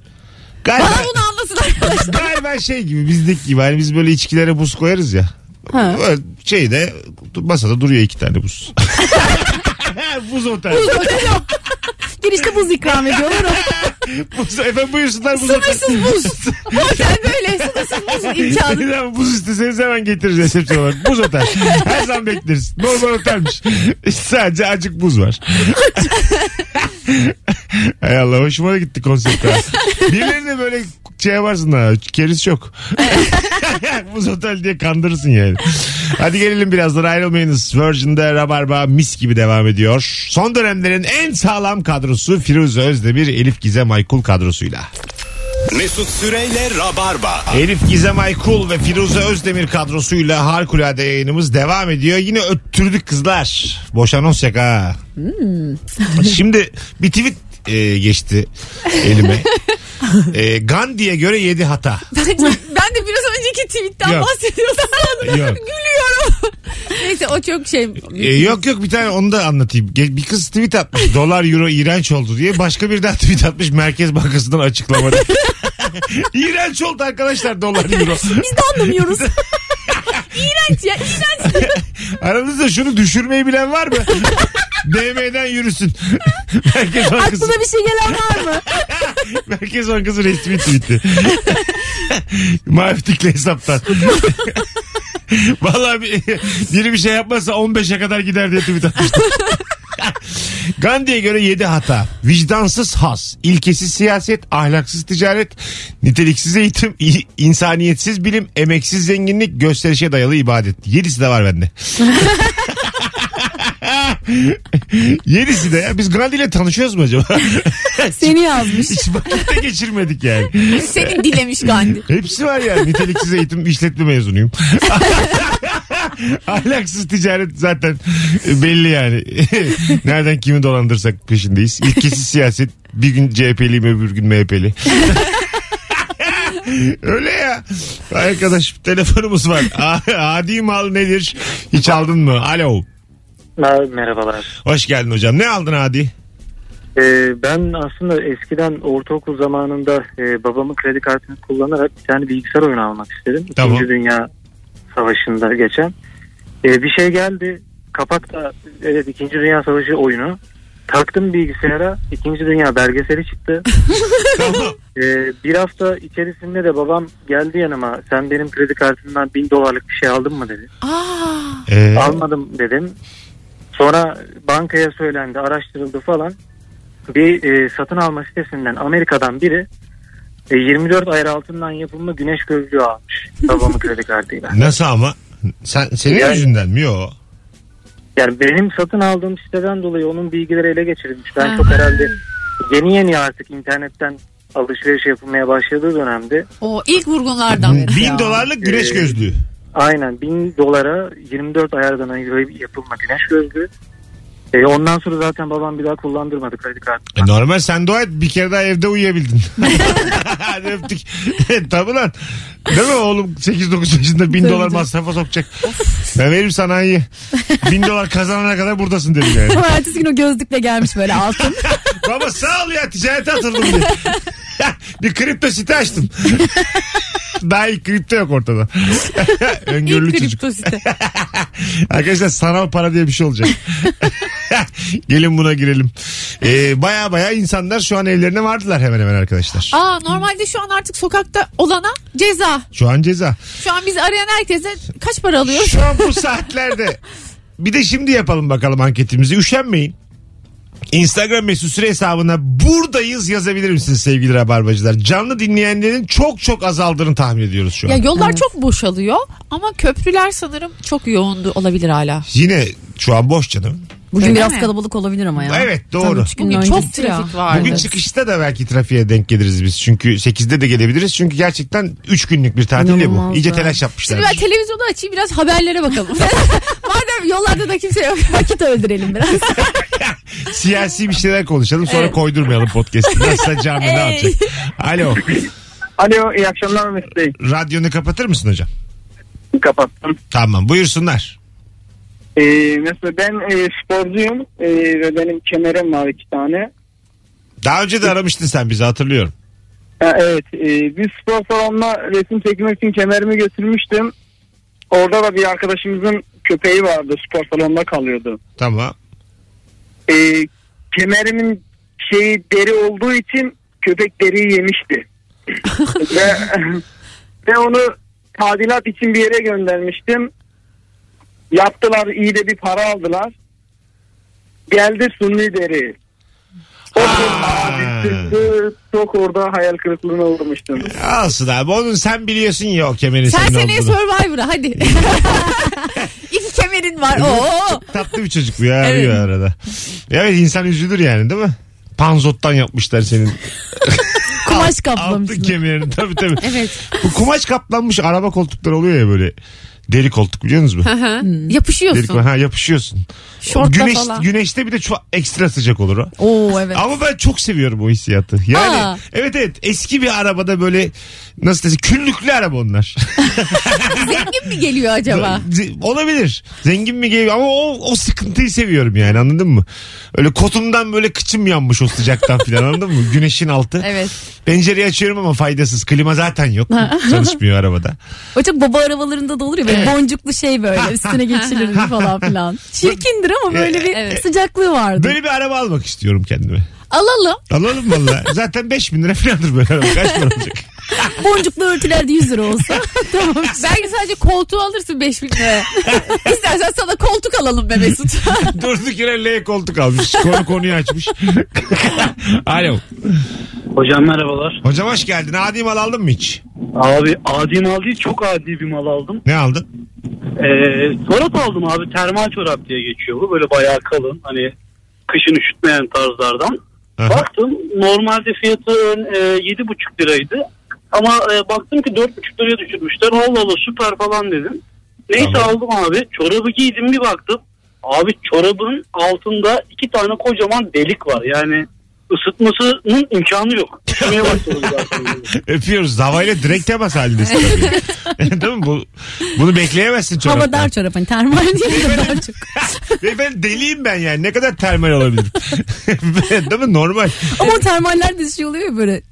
[SPEAKER 2] Galiba,
[SPEAKER 3] [LAUGHS] Bana bunu anlatın
[SPEAKER 2] [LAUGHS]
[SPEAKER 3] arkadaşlar.
[SPEAKER 2] galiba şey gibi bizdeki gibi. Hani biz böyle içkilere buz koyarız ya.
[SPEAKER 4] Ha.
[SPEAKER 2] Böyle şeyde masada duruyor iki tane buz. [LAUGHS] buz otel.
[SPEAKER 4] Girişte buz ikram ediyorlar.
[SPEAKER 2] Buz, efendim buyursunlar buz otel.
[SPEAKER 3] Sınırsız buz. otel böyle sınırsız
[SPEAKER 2] [LAUGHS]
[SPEAKER 3] buz imkanı.
[SPEAKER 2] Lan buz isteseniz hemen getiririz resepsiyon olarak. Buz otel. Her zaman bekleriz. Normal otelmiş. Sadece acık buz var. Hay Allah hoşuma da gitti konsept. ha. Birilerine böyle şey yaparsın ha. Keriz çok. buz otel diye kandırırsın yani. Hadi gelelim birazdan ayrılmayınız. Virgin'de Rabarba mis gibi devam ediyor. Son dönemlerin en sağlam kadrosu Firuze Özdemir, Elif Gizem Aykul kadrosuyla.
[SPEAKER 1] Mesut Süreyle Rabarba.
[SPEAKER 2] Elif Gizem Aykul ve Firuze Özdemir kadrosuyla harikulade yayınımız devam ediyor. Yine öttürdük kızlar. Boş anons yak ha. Şimdi bir tweet e, geçti elime. E, Gandhi'ye göre 7 hata.
[SPEAKER 3] Bence- ben de biraz önceki tweetten
[SPEAKER 2] Yok.
[SPEAKER 3] bahsediyordum.
[SPEAKER 2] [LAUGHS] Yok.
[SPEAKER 3] Gülüyorum. Neyse o çok şey.
[SPEAKER 2] E, yok yok bir tane onu da anlatayım. Ge- Bir kız tweet atmış. Dolar euro iğrenç oldu diye. Başka bir daha tweet atmış. Merkez Bankası'ndan açıklamadı. [LAUGHS] İğrenç oldu arkadaşlar dolar euro.
[SPEAKER 4] Biz de
[SPEAKER 2] [LAUGHS]
[SPEAKER 4] anlamıyoruz. İğrenç ya iğrenç.
[SPEAKER 2] Aranızda şunu düşürmeyi bilen var mı? [LAUGHS] DM'den yürüsün. [LAUGHS] Merkez Bankası,
[SPEAKER 4] Aklına bir şey gelen var mı?
[SPEAKER 2] [LAUGHS] Merkez Bankası resmi tweet'i. [LAUGHS] Mavi tikli hesaptan. [LAUGHS] Vallahi bir, biri bir şey yapmazsa 15'e kadar gider diye tweet atmıştı. [LAUGHS] Gandhi'ye göre 7 hata. Vicdansız has, ilkesiz siyaset, ahlaksız ticaret, niteliksiz eğitim, i- insaniyetsiz bilim, emeksiz zenginlik, gösterişe dayalı ibadet. 7'si de var bende. [LAUGHS] Yedisi de ya. Biz Gandhi ile tanışıyoruz mu acaba?
[SPEAKER 4] Seni yazmış. [LAUGHS]
[SPEAKER 2] Hiç vakitte geçirmedik yani.
[SPEAKER 3] Seni dilemiş Gandhi.
[SPEAKER 2] Hepsi var yani. Niteliksiz eğitim işletme mezunuyum. [LAUGHS] Ahlaksız ticaret zaten belli yani. [LAUGHS] Nereden kimi dolandırsak peşindeyiz. İlkesiz siyaset bir gün CHP'liyim öbür gün MHP'li. [LAUGHS] Öyle ya. Arkadaş telefonumuz var. A- Adi mal nedir? Hiç aldın mı? Alo.
[SPEAKER 10] Merhabalar.
[SPEAKER 2] Hoş geldin hocam. Ne aldın Adi?
[SPEAKER 10] Ee, ben aslında eskiden ortaokul zamanında e, babamın kredi kartını kullanarak bir tane bilgisayar oyunu almak istedim.
[SPEAKER 2] Tamam.
[SPEAKER 10] İkinci Dünya Savaşı'nda geçen. Ee, bir şey geldi. Kapakta evet İkinci Dünya Savaşı oyunu. Taktım bilgisayara. İkinci Dünya belgeseli çıktı.
[SPEAKER 2] [LAUGHS] Tamam.
[SPEAKER 10] Ee, bir hafta içerisinde de babam geldi yanıma. Sen benim kredi kartımdan bin dolarlık bir şey aldın mı dedi.
[SPEAKER 3] Aa,
[SPEAKER 2] Ee,
[SPEAKER 10] Almadım dedim. Sonra bankaya söylendi, araştırıldı falan. Bir e, satın alma sitesinden Amerika'dan biri e, 24 ayar altından yapılma güneş gözlüğü almış babamın kredi kartıyla.
[SPEAKER 2] nasıl ama? Sen, senin
[SPEAKER 10] Yani-
[SPEAKER 2] yüzünden mi? Yok.
[SPEAKER 10] Yani benim satın aldığım siteden dolayı onun bilgileri ele geçirilmiş. Ben çok herhalde yeni yeni artık internetten alışveriş yapılmaya başladığı dönemde
[SPEAKER 3] o ilk vurgunlardan.
[SPEAKER 2] Bin dolarlık güneş
[SPEAKER 10] Ee,
[SPEAKER 2] gözlüğü.
[SPEAKER 10] Aynen 1000 dolara 24 ayardan ayrı yapılma güneş gözlüğü. E, ondan sonra zaten babam bir daha kullandırmadı kredi kartı.
[SPEAKER 2] E normal sen dua et bir kere daha evde uyuyabildin. [LAUGHS] Hadi öptük. E, Tabii lan. Değil mi oğlum 8-9 yaşında 1000 dolar masrafa sokacak. ben veririm sana iyi. 1000 dolar kazanana kadar buradasın dedim yani.
[SPEAKER 4] Sonra ertesi gün o gözlükle gelmiş böyle altın.
[SPEAKER 2] Baba sağ ol ya ticarete atıldım diye. [LAUGHS] bir kripto site açtım. [LAUGHS] daha ilk kripto yok ortada. [LAUGHS] Öngörülü
[SPEAKER 3] İlk
[SPEAKER 2] çocuk.
[SPEAKER 3] kripto site.
[SPEAKER 2] [LAUGHS] Arkadaşlar sanal para diye bir şey olacak. [LAUGHS] Gelin buna girelim. Ee, baya baya insanlar şu an evlerine vardılar hemen hemen arkadaşlar.
[SPEAKER 3] Aa, normalde şu an artık sokakta olana ceza.
[SPEAKER 2] Şu an ceza.
[SPEAKER 3] Şu an bizi arayan herkese kaç para alıyoruz?
[SPEAKER 2] Şu an bu saatlerde. Bir de şimdi yapalım bakalım anketimizi. Üşenmeyin. Instagram mesut süre hesabına buradayız yazabilir misiniz sevgili rabarbacılar? Canlı dinleyenlerin çok çok azaldığını tahmin ediyoruz şu an.
[SPEAKER 3] Ya yollar çok boşalıyor ama köprüler sanırım çok yoğundu olabilir hala.
[SPEAKER 2] Yine şu an boş canım.
[SPEAKER 4] Bugün
[SPEAKER 3] Öyle
[SPEAKER 4] biraz
[SPEAKER 3] mi?
[SPEAKER 4] kalabalık olabilir ama ya.
[SPEAKER 2] Evet doğru.
[SPEAKER 4] Üç gün
[SPEAKER 3] Bugün
[SPEAKER 4] öncesi
[SPEAKER 3] çok trafik
[SPEAKER 4] ya.
[SPEAKER 3] vardı.
[SPEAKER 2] Bugün
[SPEAKER 4] Evet.
[SPEAKER 2] çıkışta da belki trafiğe denk geliriz biz. Çünkü 8'de de gelebiliriz. Çünkü gerçekten 3 günlük bir tatil ya bu.
[SPEAKER 4] İnanılmaz
[SPEAKER 2] İyice
[SPEAKER 4] ya.
[SPEAKER 2] telaş
[SPEAKER 3] Şimdi
[SPEAKER 2] yapmışlar.
[SPEAKER 3] ben televizyonu açayım biraz haberlere bakalım. Madem yollarda da kimse yok.
[SPEAKER 4] Vakit öldürelim biraz.
[SPEAKER 2] Siyasi bir şeyler konuşalım sonra koydurmayalım podcast'ı. Nasılsa canlı ne yapacak? Alo.
[SPEAKER 8] Alo iyi akşamlar Mesut Bey.
[SPEAKER 2] Radyonu kapatır mısın hocam?
[SPEAKER 8] Kapattım.
[SPEAKER 2] Tamam buyursunlar.
[SPEAKER 8] Ee, mesela ben e, sporcuyum e, ve benim kemerim var iki tane.
[SPEAKER 2] Daha önce de aramıştın sen bizi hatırlıyorum.
[SPEAKER 8] Ha, evet e, bir spor salonuna resim çekmek için kemerimi götürmüştüm. Orada da bir arkadaşımızın köpeği vardı spor salonunda kalıyordu.
[SPEAKER 2] Tamam.
[SPEAKER 8] E, kemerimin şeyi deri olduğu için köpek deriyi yemişti. ve, ve onu tadilat için bir yere göndermiştim. Yaptılar iyi de bir para aldılar. Geldi sunni deri. O
[SPEAKER 2] Aa.
[SPEAKER 8] Çok- çok orada hayal kırıklığına uğramıştım.
[SPEAKER 2] Alsın abi. Onun sen biliyorsun ya o kemerin
[SPEAKER 3] Sen
[SPEAKER 2] senin
[SPEAKER 3] seneye
[SPEAKER 2] olduğunu.
[SPEAKER 3] Survivor'a hadi. İki kemerin var. Oo.
[SPEAKER 2] Tatlı bir çocuk bu ya arıyor arada. Evet insan üzülür yani değil mi? Panzottan
[SPEAKER 3] [LAUGHS]
[SPEAKER 2] yapmışlar senin.
[SPEAKER 4] Kumaş
[SPEAKER 2] Altın
[SPEAKER 4] kaplamışsın.
[SPEAKER 2] kemerini tabii tabii.
[SPEAKER 3] [LAUGHS] Evet.
[SPEAKER 2] Bu kumaş kaplanmış araba koltukları oluyor ya böyle. Deri koltuk biliyor musunuz? bu?
[SPEAKER 3] Hı hı.
[SPEAKER 2] Deri koltuk.
[SPEAKER 3] Yapışıyorsun.
[SPEAKER 2] Ha yapışıyorsun.
[SPEAKER 3] Şortla
[SPEAKER 2] güneş,
[SPEAKER 3] falan.
[SPEAKER 2] Güneşte bir de çok ekstra sıcak olur o.
[SPEAKER 3] Oo evet.
[SPEAKER 2] Ama ben çok seviyorum o hissiyatı. Yani
[SPEAKER 3] Aa.
[SPEAKER 2] evet evet eski bir arabada böyle nasıl desem küllüklü araba onlar.
[SPEAKER 3] Zengin mi geliyor acaba?
[SPEAKER 2] [LAUGHS] Ze- Olabilir. Zengin mi geliyor ama o, o sıkıntıyı seviyorum yani anladın mı? Öyle kotumdan böyle kıçım yanmış
[SPEAKER 3] [LAUGHS]
[SPEAKER 2] o sıcaktan filan anladın mı? Güneşin altı.
[SPEAKER 3] Evet.
[SPEAKER 2] Pencereyi açıyorum ama faydasız. Klima zaten yok. [LAUGHS] Çalışmıyor
[SPEAKER 3] [LAUGHS]
[SPEAKER 2] arabada.
[SPEAKER 4] O çok baba arabalarında da olur ya böyle boncuklu şey böyle üstüne geçilir falan filan. Çirkindir ama böyle bir
[SPEAKER 3] Evet.
[SPEAKER 4] sıcaklığı vardı.
[SPEAKER 2] Böyle bir araba almak istiyorum kendime.
[SPEAKER 3] Alalım.
[SPEAKER 2] Alalım valla.
[SPEAKER 3] [LAUGHS]
[SPEAKER 2] zaten 5000 lira filandır böyle araba. Kaç para olacak?
[SPEAKER 4] Boncuklu örtüler de 100 lira olsa. tamam.
[SPEAKER 3] Belki sadece koltuğu alırsın
[SPEAKER 4] [LAUGHS]
[SPEAKER 3] 5000 liraya. İstersen sana koltuk alalım be Mesut.
[SPEAKER 2] Durduk yere L koltuk almış. Konu konuyu açmış. Alo.
[SPEAKER 9] Hocam merhabalar.
[SPEAKER 2] Hocam hoş geldin. Adi mal aldın mı hiç?
[SPEAKER 9] Abi adi mal değil çok adi bir mal aldım.
[SPEAKER 2] Ne aldın?
[SPEAKER 9] Ee, çorap aldım abi termal çorap diye geçiyor bu. Böyle bayağı kalın hani kışın üşütmeyen tarzlardan.
[SPEAKER 2] Aha.
[SPEAKER 9] Baktım normalde fiyatı e, 7,5 liraydı. Ama e, baktım ki 4,5 liraya düşürmüşler. Allah Allah süper falan dedim. Neyse
[SPEAKER 2] Tamam.
[SPEAKER 9] aldım abi. Çorabı giydim bir baktım. Abi çorabın altında iki tane kocaman delik var. Yani ısıtmasının imkanı yok. Üşümeye başladım zaten.
[SPEAKER 2] [LAUGHS] Öpüyoruz. Davayla direkt temas halindesin. Değil mi? Bu, bunu bekleyemezsin çoraptan.
[SPEAKER 4] Hava dar çorap hani termal değil de dar çok.
[SPEAKER 2] Ve ben deliyim ben yani. Ne kadar termal olabilirim. [LAUGHS] Değil mi? Normal.
[SPEAKER 4] Ama o termaller de şey oluyor ya böyle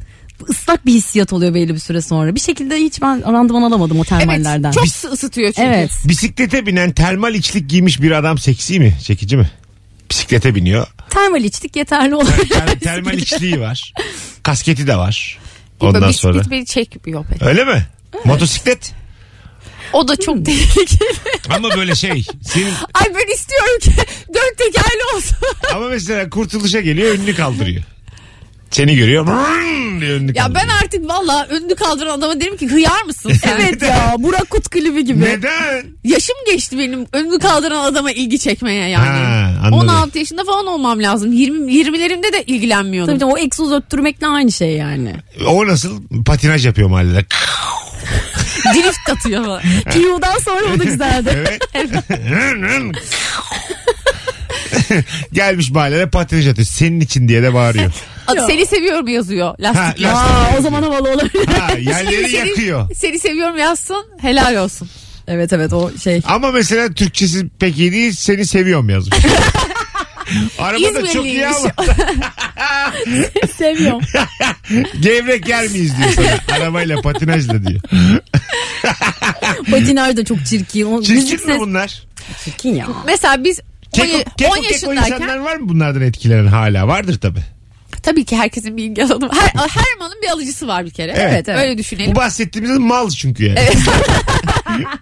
[SPEAKER 4] ıslak bir hissiyat oluyor belli bir süre sonra. Bir şekilde hiç ben randıman alamadım o
[SPEAKER 3] evet.
[SPEAKER 4] termallerden.
[SPEAKER 3] Çok sı- ısıtıyor çünkü.
[SPEAKER 4] Evet.
[SPEAKER 2] Bisiklete binen termal içlik giymiş bir adam seksi mi? Çekici mi? Bisiklete biniyor.
[SPEAKER 4] Termal içtik yeterli olur.
[SPEAKER 2] Ter- termal içliği var. Kasketi de var.
[SPEAKER 3] Böyle
[SPEAKER 2] Ondan
[SPEAKER 3] bisiklet
[SPEAKER 2] sonra.
[SPEAKER 3] beni çekmiyor pek.
[SPEAKER 2] Öyle mi? Motosiklet.
[SPEAKER 3] O da
[SPEAKER 4] [LAUGHS]
[SPEAKER 3] çok tehlikeli.
[SPEAKER 2] Ama böyle şey. Senin,
[SPEAKER 3] Ay ben istiyorum ki [LAUGHS] dört tekerli olsun.
[SPEAKER 2] ama mesela kurtuluşa geliyor önünü kaldırıyor. Seni görüyor. "Vrrrm" diyor önünü
[SPEAKER 3] ya ben
[SPEAKER 2] kaldırıyor.
[SPEAKER 3] artık valla önünü kaldıran adama derim ki hıyar mısın sen?
[SPEAKER 4] evet ya
[SPEAKER 3] [LAUGHS]
[SPEAKER 4] Burak Kut klibi gibi.
[SPEAKER 2] Neden?
[SPEAKER 3] Yaşım geçti benim önünü kaldıran adama ilgi çekmeye yani.
[SPEAKER 2] Ha, anladım.
[SPEAKER 3] 16 yaşında falan olmam lazım. 20 20'lerimde de
[SPEAKER 4] Tabii
[SPEAKER 3] ilgilenmiyordum.
[SPEAKER 4] canım, o egzoz öttürmekle aynı şey yani.
[SPEAKER 2] O nasıl patinaj yapıyor mahallede.
[SPEAKER 3] Drift
[SPEAKER 4] [LAUGHS]
[SPEAKER 3] atıyor falan.
[SPEAKER 4] Piyo'dan sonra o da
[SPEAKER 2] [LAUGHS]
[SPEAKER 4] güzeldi.
[SPEAKER 2] Evet. Gelmiş mahallede patinaj atıyor. Senin için diye de bağırıyor.
[SPEAKER 3] Seni seviyorum yazıyor
[SPEAKER 2] Ha,
[SPEAKER 3] lastik.
[SPEAKER 4] Aa, o zaman havalı olabilir.
[SPEAKER 2] Ha, yerleri yakıyor.
[SPEAKER 3] Seni seviyorum yazsın helal olsun.
[SPEAKER 4] evet evet o şey.
[SPEAKER 2] Ama mesela Türkçesi pek iyi değil. Seni seviyorum yazmış. Arabada çok iyi ama
[SPEAKER 4] [LAUGHS] Seviyorum.
[SPEAKER 2] [LAUGHS] gevrek yer miyiz diyor sana. Arabayla patinajla diyor.
[SPEAKER 4] Patinaj da çok çirkin. O müzik
[SPEAKER 2] Çirkin mi
[SPEAKER 4] ses
[SPEAKER 2] bunlar?
[SPEAKER 4] çirkin ya.
[SPEAKER 3] Mesela biz on-
[SPEAKER 2] Keko, keko,
[SPEAKER 3] 10
[SPEAKER 2] keko
[SPEAKER 3] yaşındayken
[SPEAKER 2] insanlar var mı bunlardan etkilenen hala? Vardır tabi.
[SPEAKER 3] tabii ki herkesin bir ilgi alanı var. Her, her malın bir alıcısı var bir kere.
[SPEAKER 2] Evet.
[SPEAKER 3] Öyle düşünelim.
[SPEAKER 2] Bu bahsettiğimiz mal çünkü yani. [LAUGHS]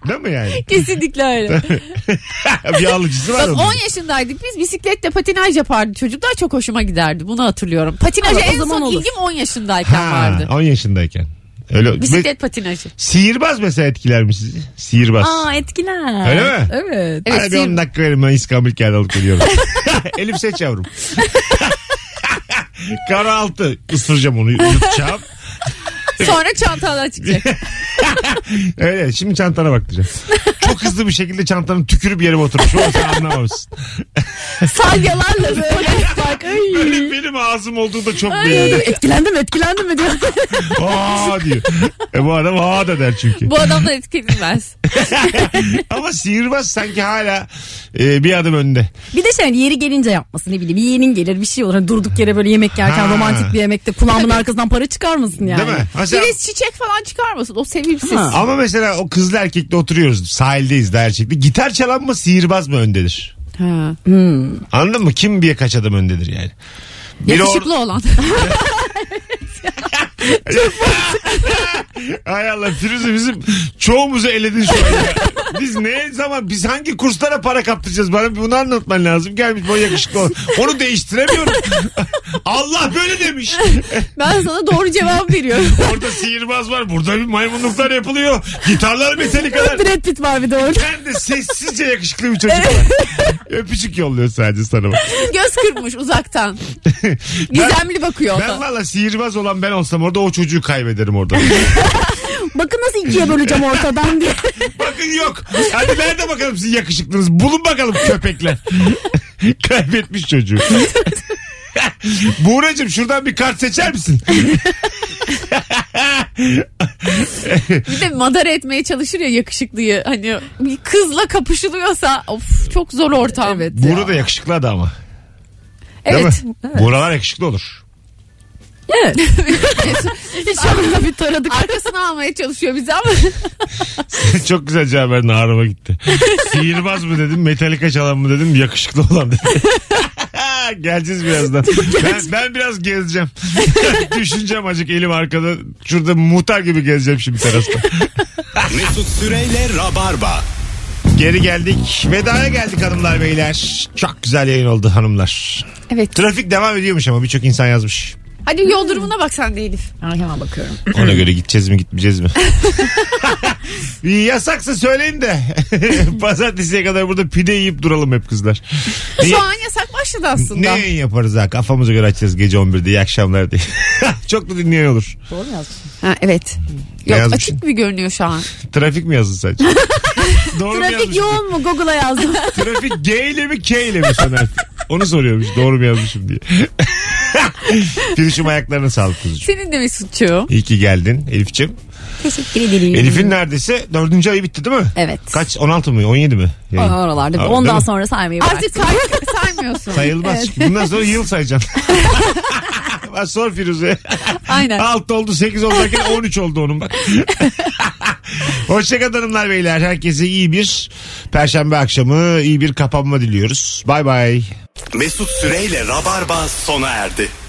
[SPEAKER 2] Değil mi yani? [LAUGHS]
[SPEAKER 3] Kesinlikle öyle.
[SPEAKER 2] bir alıcısı var
[SPEAKER 3] Bak
[SPEAKER 2] onun.
[SPEAKER 3] 10 yaşındaydık biz bisikletle patinaj yapardı çocuklar çok hoşuma giderdi bunu hatırlıyorum. Patinaja
[SPEAKER 4] Ama o
[SPEAKER 3] en
[SPEAKER 4] zaman
[SPEAKER 3] son
[SPEAKER 4] olur.
[SPEAKER 3] ilgim 10 yaşındayken
[SPEAKER 2] Ha,
[SPEAKER 3] vardı.
[SPEAKER 2] 10 yaşındayken. Öyle. Ve
[SPEAKER 3] Bisiklet patinajı.
[SPEAKER 2] Sihirbaz mesela etkiler mi sizi? Sihirbaz.
[SPEAKER 4] Aa etkiler.
[SPEAKER 2] Öyle mi?
[SPEAKER 4] Evet.
[SPEAKER 3] Evet,
[SPEAKER 2] Hadi bir 10
[SPEAKER 3] sihir-
[SPEAKER 2] dakika verin ben İskambil kağıdı alıp geliyorum.
[SPEAKER 3] [LAUGHS]
[SPEAKER 2] [LAUGHS] Elif seç yavrum. [LAUGHS] Kara altı ısıracağım onu yutacağım.
[SPEAKER 3] Sonra çantadan
[SPEAKER 2] [LAUGHS]
[SPEAKER 3] çıkacak.
[SPEAKER 2] Öyle şimdi çantana baktıracağım. Çok hızlı bir şekilde çantanın tükürüp yerime oturmuş. Onu sen
[SPEAKER 3] [LAUGHS]
[SPEAKER 2] anlamamışsın.
[SPEAKER 4] Salyalarla böyle. [LAUGHS] Bak ay.
[SPEAKER 2] Benim, benim ağzım olduğunda çok beğendim.
[SPEAKER 4] Etkilendim etkilendim mi diyor.
[SPEAKER 2] Aa diyor. E bu adam aa da der çünkü.
[SPEAKER 3] Bu adamdan etkilenmez.
[SPEAKER 2] [LAUGHS] Ama sihirbaz sanki hala e, bir adım önde.
[SPEAKER 4] bir de şey hani yeri gelince yapması ne bileyim yeğenin gelir bir şey olur. Hani durduk yere böyle yemek yerken
[SPEAKER 2] Ha.
[SPEAKER 4] romantik bir yemekte kulağımın arkasından para çıkarmasın yani.
[SPEAKER 2] Değil mi? Mesela-
[SPEAKER 3] Filiz çiçek falan çıkarmasın o sevimsiz.
[SPEAKER 4] Ha.
[SPEAKER 2] Ama mesela o kızla erkekle oturuyoruz. Sahildeyiz de erkekle. Gitar çalan mı sihirbaz mı öndedir?
[SPEAKER 3] Ha.
[SPEAKER 2] Anladın mı? Kim bir kaç adam öndedir yani? Biri or-
[SPEAKER 3] Yakışıklı
[SPEAKER 4] [LAUGHS]
[SPEAKER 3] olan.
[SPEAKER 2] Hay Allah Firuze bizim çoğumuzu eledin şu an. ya. Biz ne zaman biz hangi kurslara para kaptıracağız bana bunu anlatman lazım. Gelmiş boy yakışıklı olan. Onu değiştiremiyorum. [LAUGHS] Allah böyle demiş.
[SPEAKER 3] Ben sana doğru cevap veriyorum.
[SPEAKER 2] Orada sihirbaz var. Burada bir maymunluklar yapılıyor. Gitarlar metalik kadar.
[SPEAKER 4] Brad Pitt var bir de orada.
[SPEAKER 2] Ben de sessizce yakışıklı bir çocuk var. Öpücük yolluyor sadece sana. bak.
[SPEAKER 3] [LAUGHS] Göz kırpmış uzaktan. Gizemli bakıyor. o da.
[SPEAKER 2] Ben valla sihirbaz olan ben olsam orada o çocuğu kaybederim orada.
[SPEAKER 4] Bakın nasıl ikiye böleceğim ortadan diye.
[SPEAKER 2] Bakın yok. Hadi nerede bakalım sizin yakışıklınız? Bulun bakalım köpekler. [LAUGHS] Kaybetmiş çocuğu. Buğracığım şuradan bir kart seçer misin?
[SPEAKER 3] Bir de madara etmeye çalışır ya yakışıklıyı. Hani bir kızla kapışılıyorsa of çok zor ortam. Evet.
[SPEAKER 2] Buğra da yakışıklı adı ama. Değil
[SPEAKER 3] Evet.
[SPEAKER 2] mi? Buğralar yakışıklı olur.
[SPEAKER 4] Şu anda [LAUGHS] bir taradık.
[SPEAKER 3] Arkasını almaya çalışıyor bizi ama
[SPEAKER 2] [LAUGHS] Çok güzel cevap verdin ağrıma gitti. Sihirbaz mı dedim, metalika çalan mı dedim, yakışıklı olan dedim. [LAUGHS] Geleceğiz birazdan. Ben, ben biraz gezeceğim. [LAUGHS] Düşüneceğim acık elim arkada. Şurada muhtar gibi gezeceğim şimdi terasta.
[SPEAKER 1] Mesut Süreyle Rabarba.
[SPEAKER 2] Geri geldik. Vedaya geldik hanımlar beyler. Çok güzel yayın oldu hanımlar.
[SPEAKER 3] Evet.
[SPEAKER 2] Trafik devam ediyormuş ama birçok insan yazmış.
[SPEAKER 3] Hadi yol durumuna bak sen de Elif.
[SPEAKER 4] Hemen bakıyorum.
[SPEAKER 2] Ona göre gideceğiz mi gitmeyeceğiz mi? Yasaksa söyleyin de. [LAUGHS] Pazartesiye kadar burada pide yiyip duralım hep kızlar. Niye-
[SPEAKER 3] Şu an yasak başladı
[SPEAKER 2] Ne
[SPEAKER 3] aslında.
[SPEAKER 2] yayın yaparız ha? Kafamıza göre açacağız gece 11'de. İyi akşamlar diye. [LAUGHS] Çok da dinleyen olur.
[SPEAKER 3] Ha, evet.
[SPEAKER 2] Ne
[SPEAKER 3] Yok
[SPEAKER 2] yazmışsın?
[SPEAKER 3] açık bir görünüyor şu an.
[SPEAKER 2] Trafik mi yazdın sadece?
[SPEAKER 4] [LAUGHS]
[SPEAKER 2] Doğru mu
[SPEAKER 4] Trafik
[SPEAKER 2] yazmışım?
[SPEAKER 4] yoğun mu Google'a yazdım.
[SPEAKER 2] [LAUGHS] Trafik G ile mi K ile mi Soner? Onu soruyormuş. Doğru mu yazmışım diye. [LAUGHS] Firuş'um ayaklarına sağlık
[SPEAKER 3] [LAUGHS]
[SPEAKER 2] kuzucuğum.
[SPEAKER 3] Senin de Mesut'cuğum.
[SPEAKER 2] İyi ki geldin Elif'ciğim.
[SPEAKER 4] Teşekkür ederim.
[SPEAKER 2] Elif'in neredeyse dördüncü ayı bitti değil mi?
[SPEAKER 4] Evet.
[SPEAKER 2] Kaç? 16 mı? 17 mi? Yayın.
[SPEAKER 4] Oralarda.
[SPEAKER 2] Abi,
[SPEAKER 4] Ondan
[SPEAKER 2] değil mi?
[SPEAKER 4] sonra saymayı bırak.
[SPEAKER 3] Artık say- [LAUGHS] saymıyorsun.
[SPEAKER 2] Sayılmaz. Bundan sonra yıl sayacaksın. Bak Sor Firuze.
[SPEAKER 3] Aynen.
[SPEAKER 2] 6 oldu 8 oldu derken 13 oldu onun bak. Hoşçakalın hanımlar beyler. Herkese iyi bir perşembe akşamı iyi bir kapanma diliyoruz. Bay bay.
[SPEAKER 1] Mesut Süreyle Rabarba sona erdi.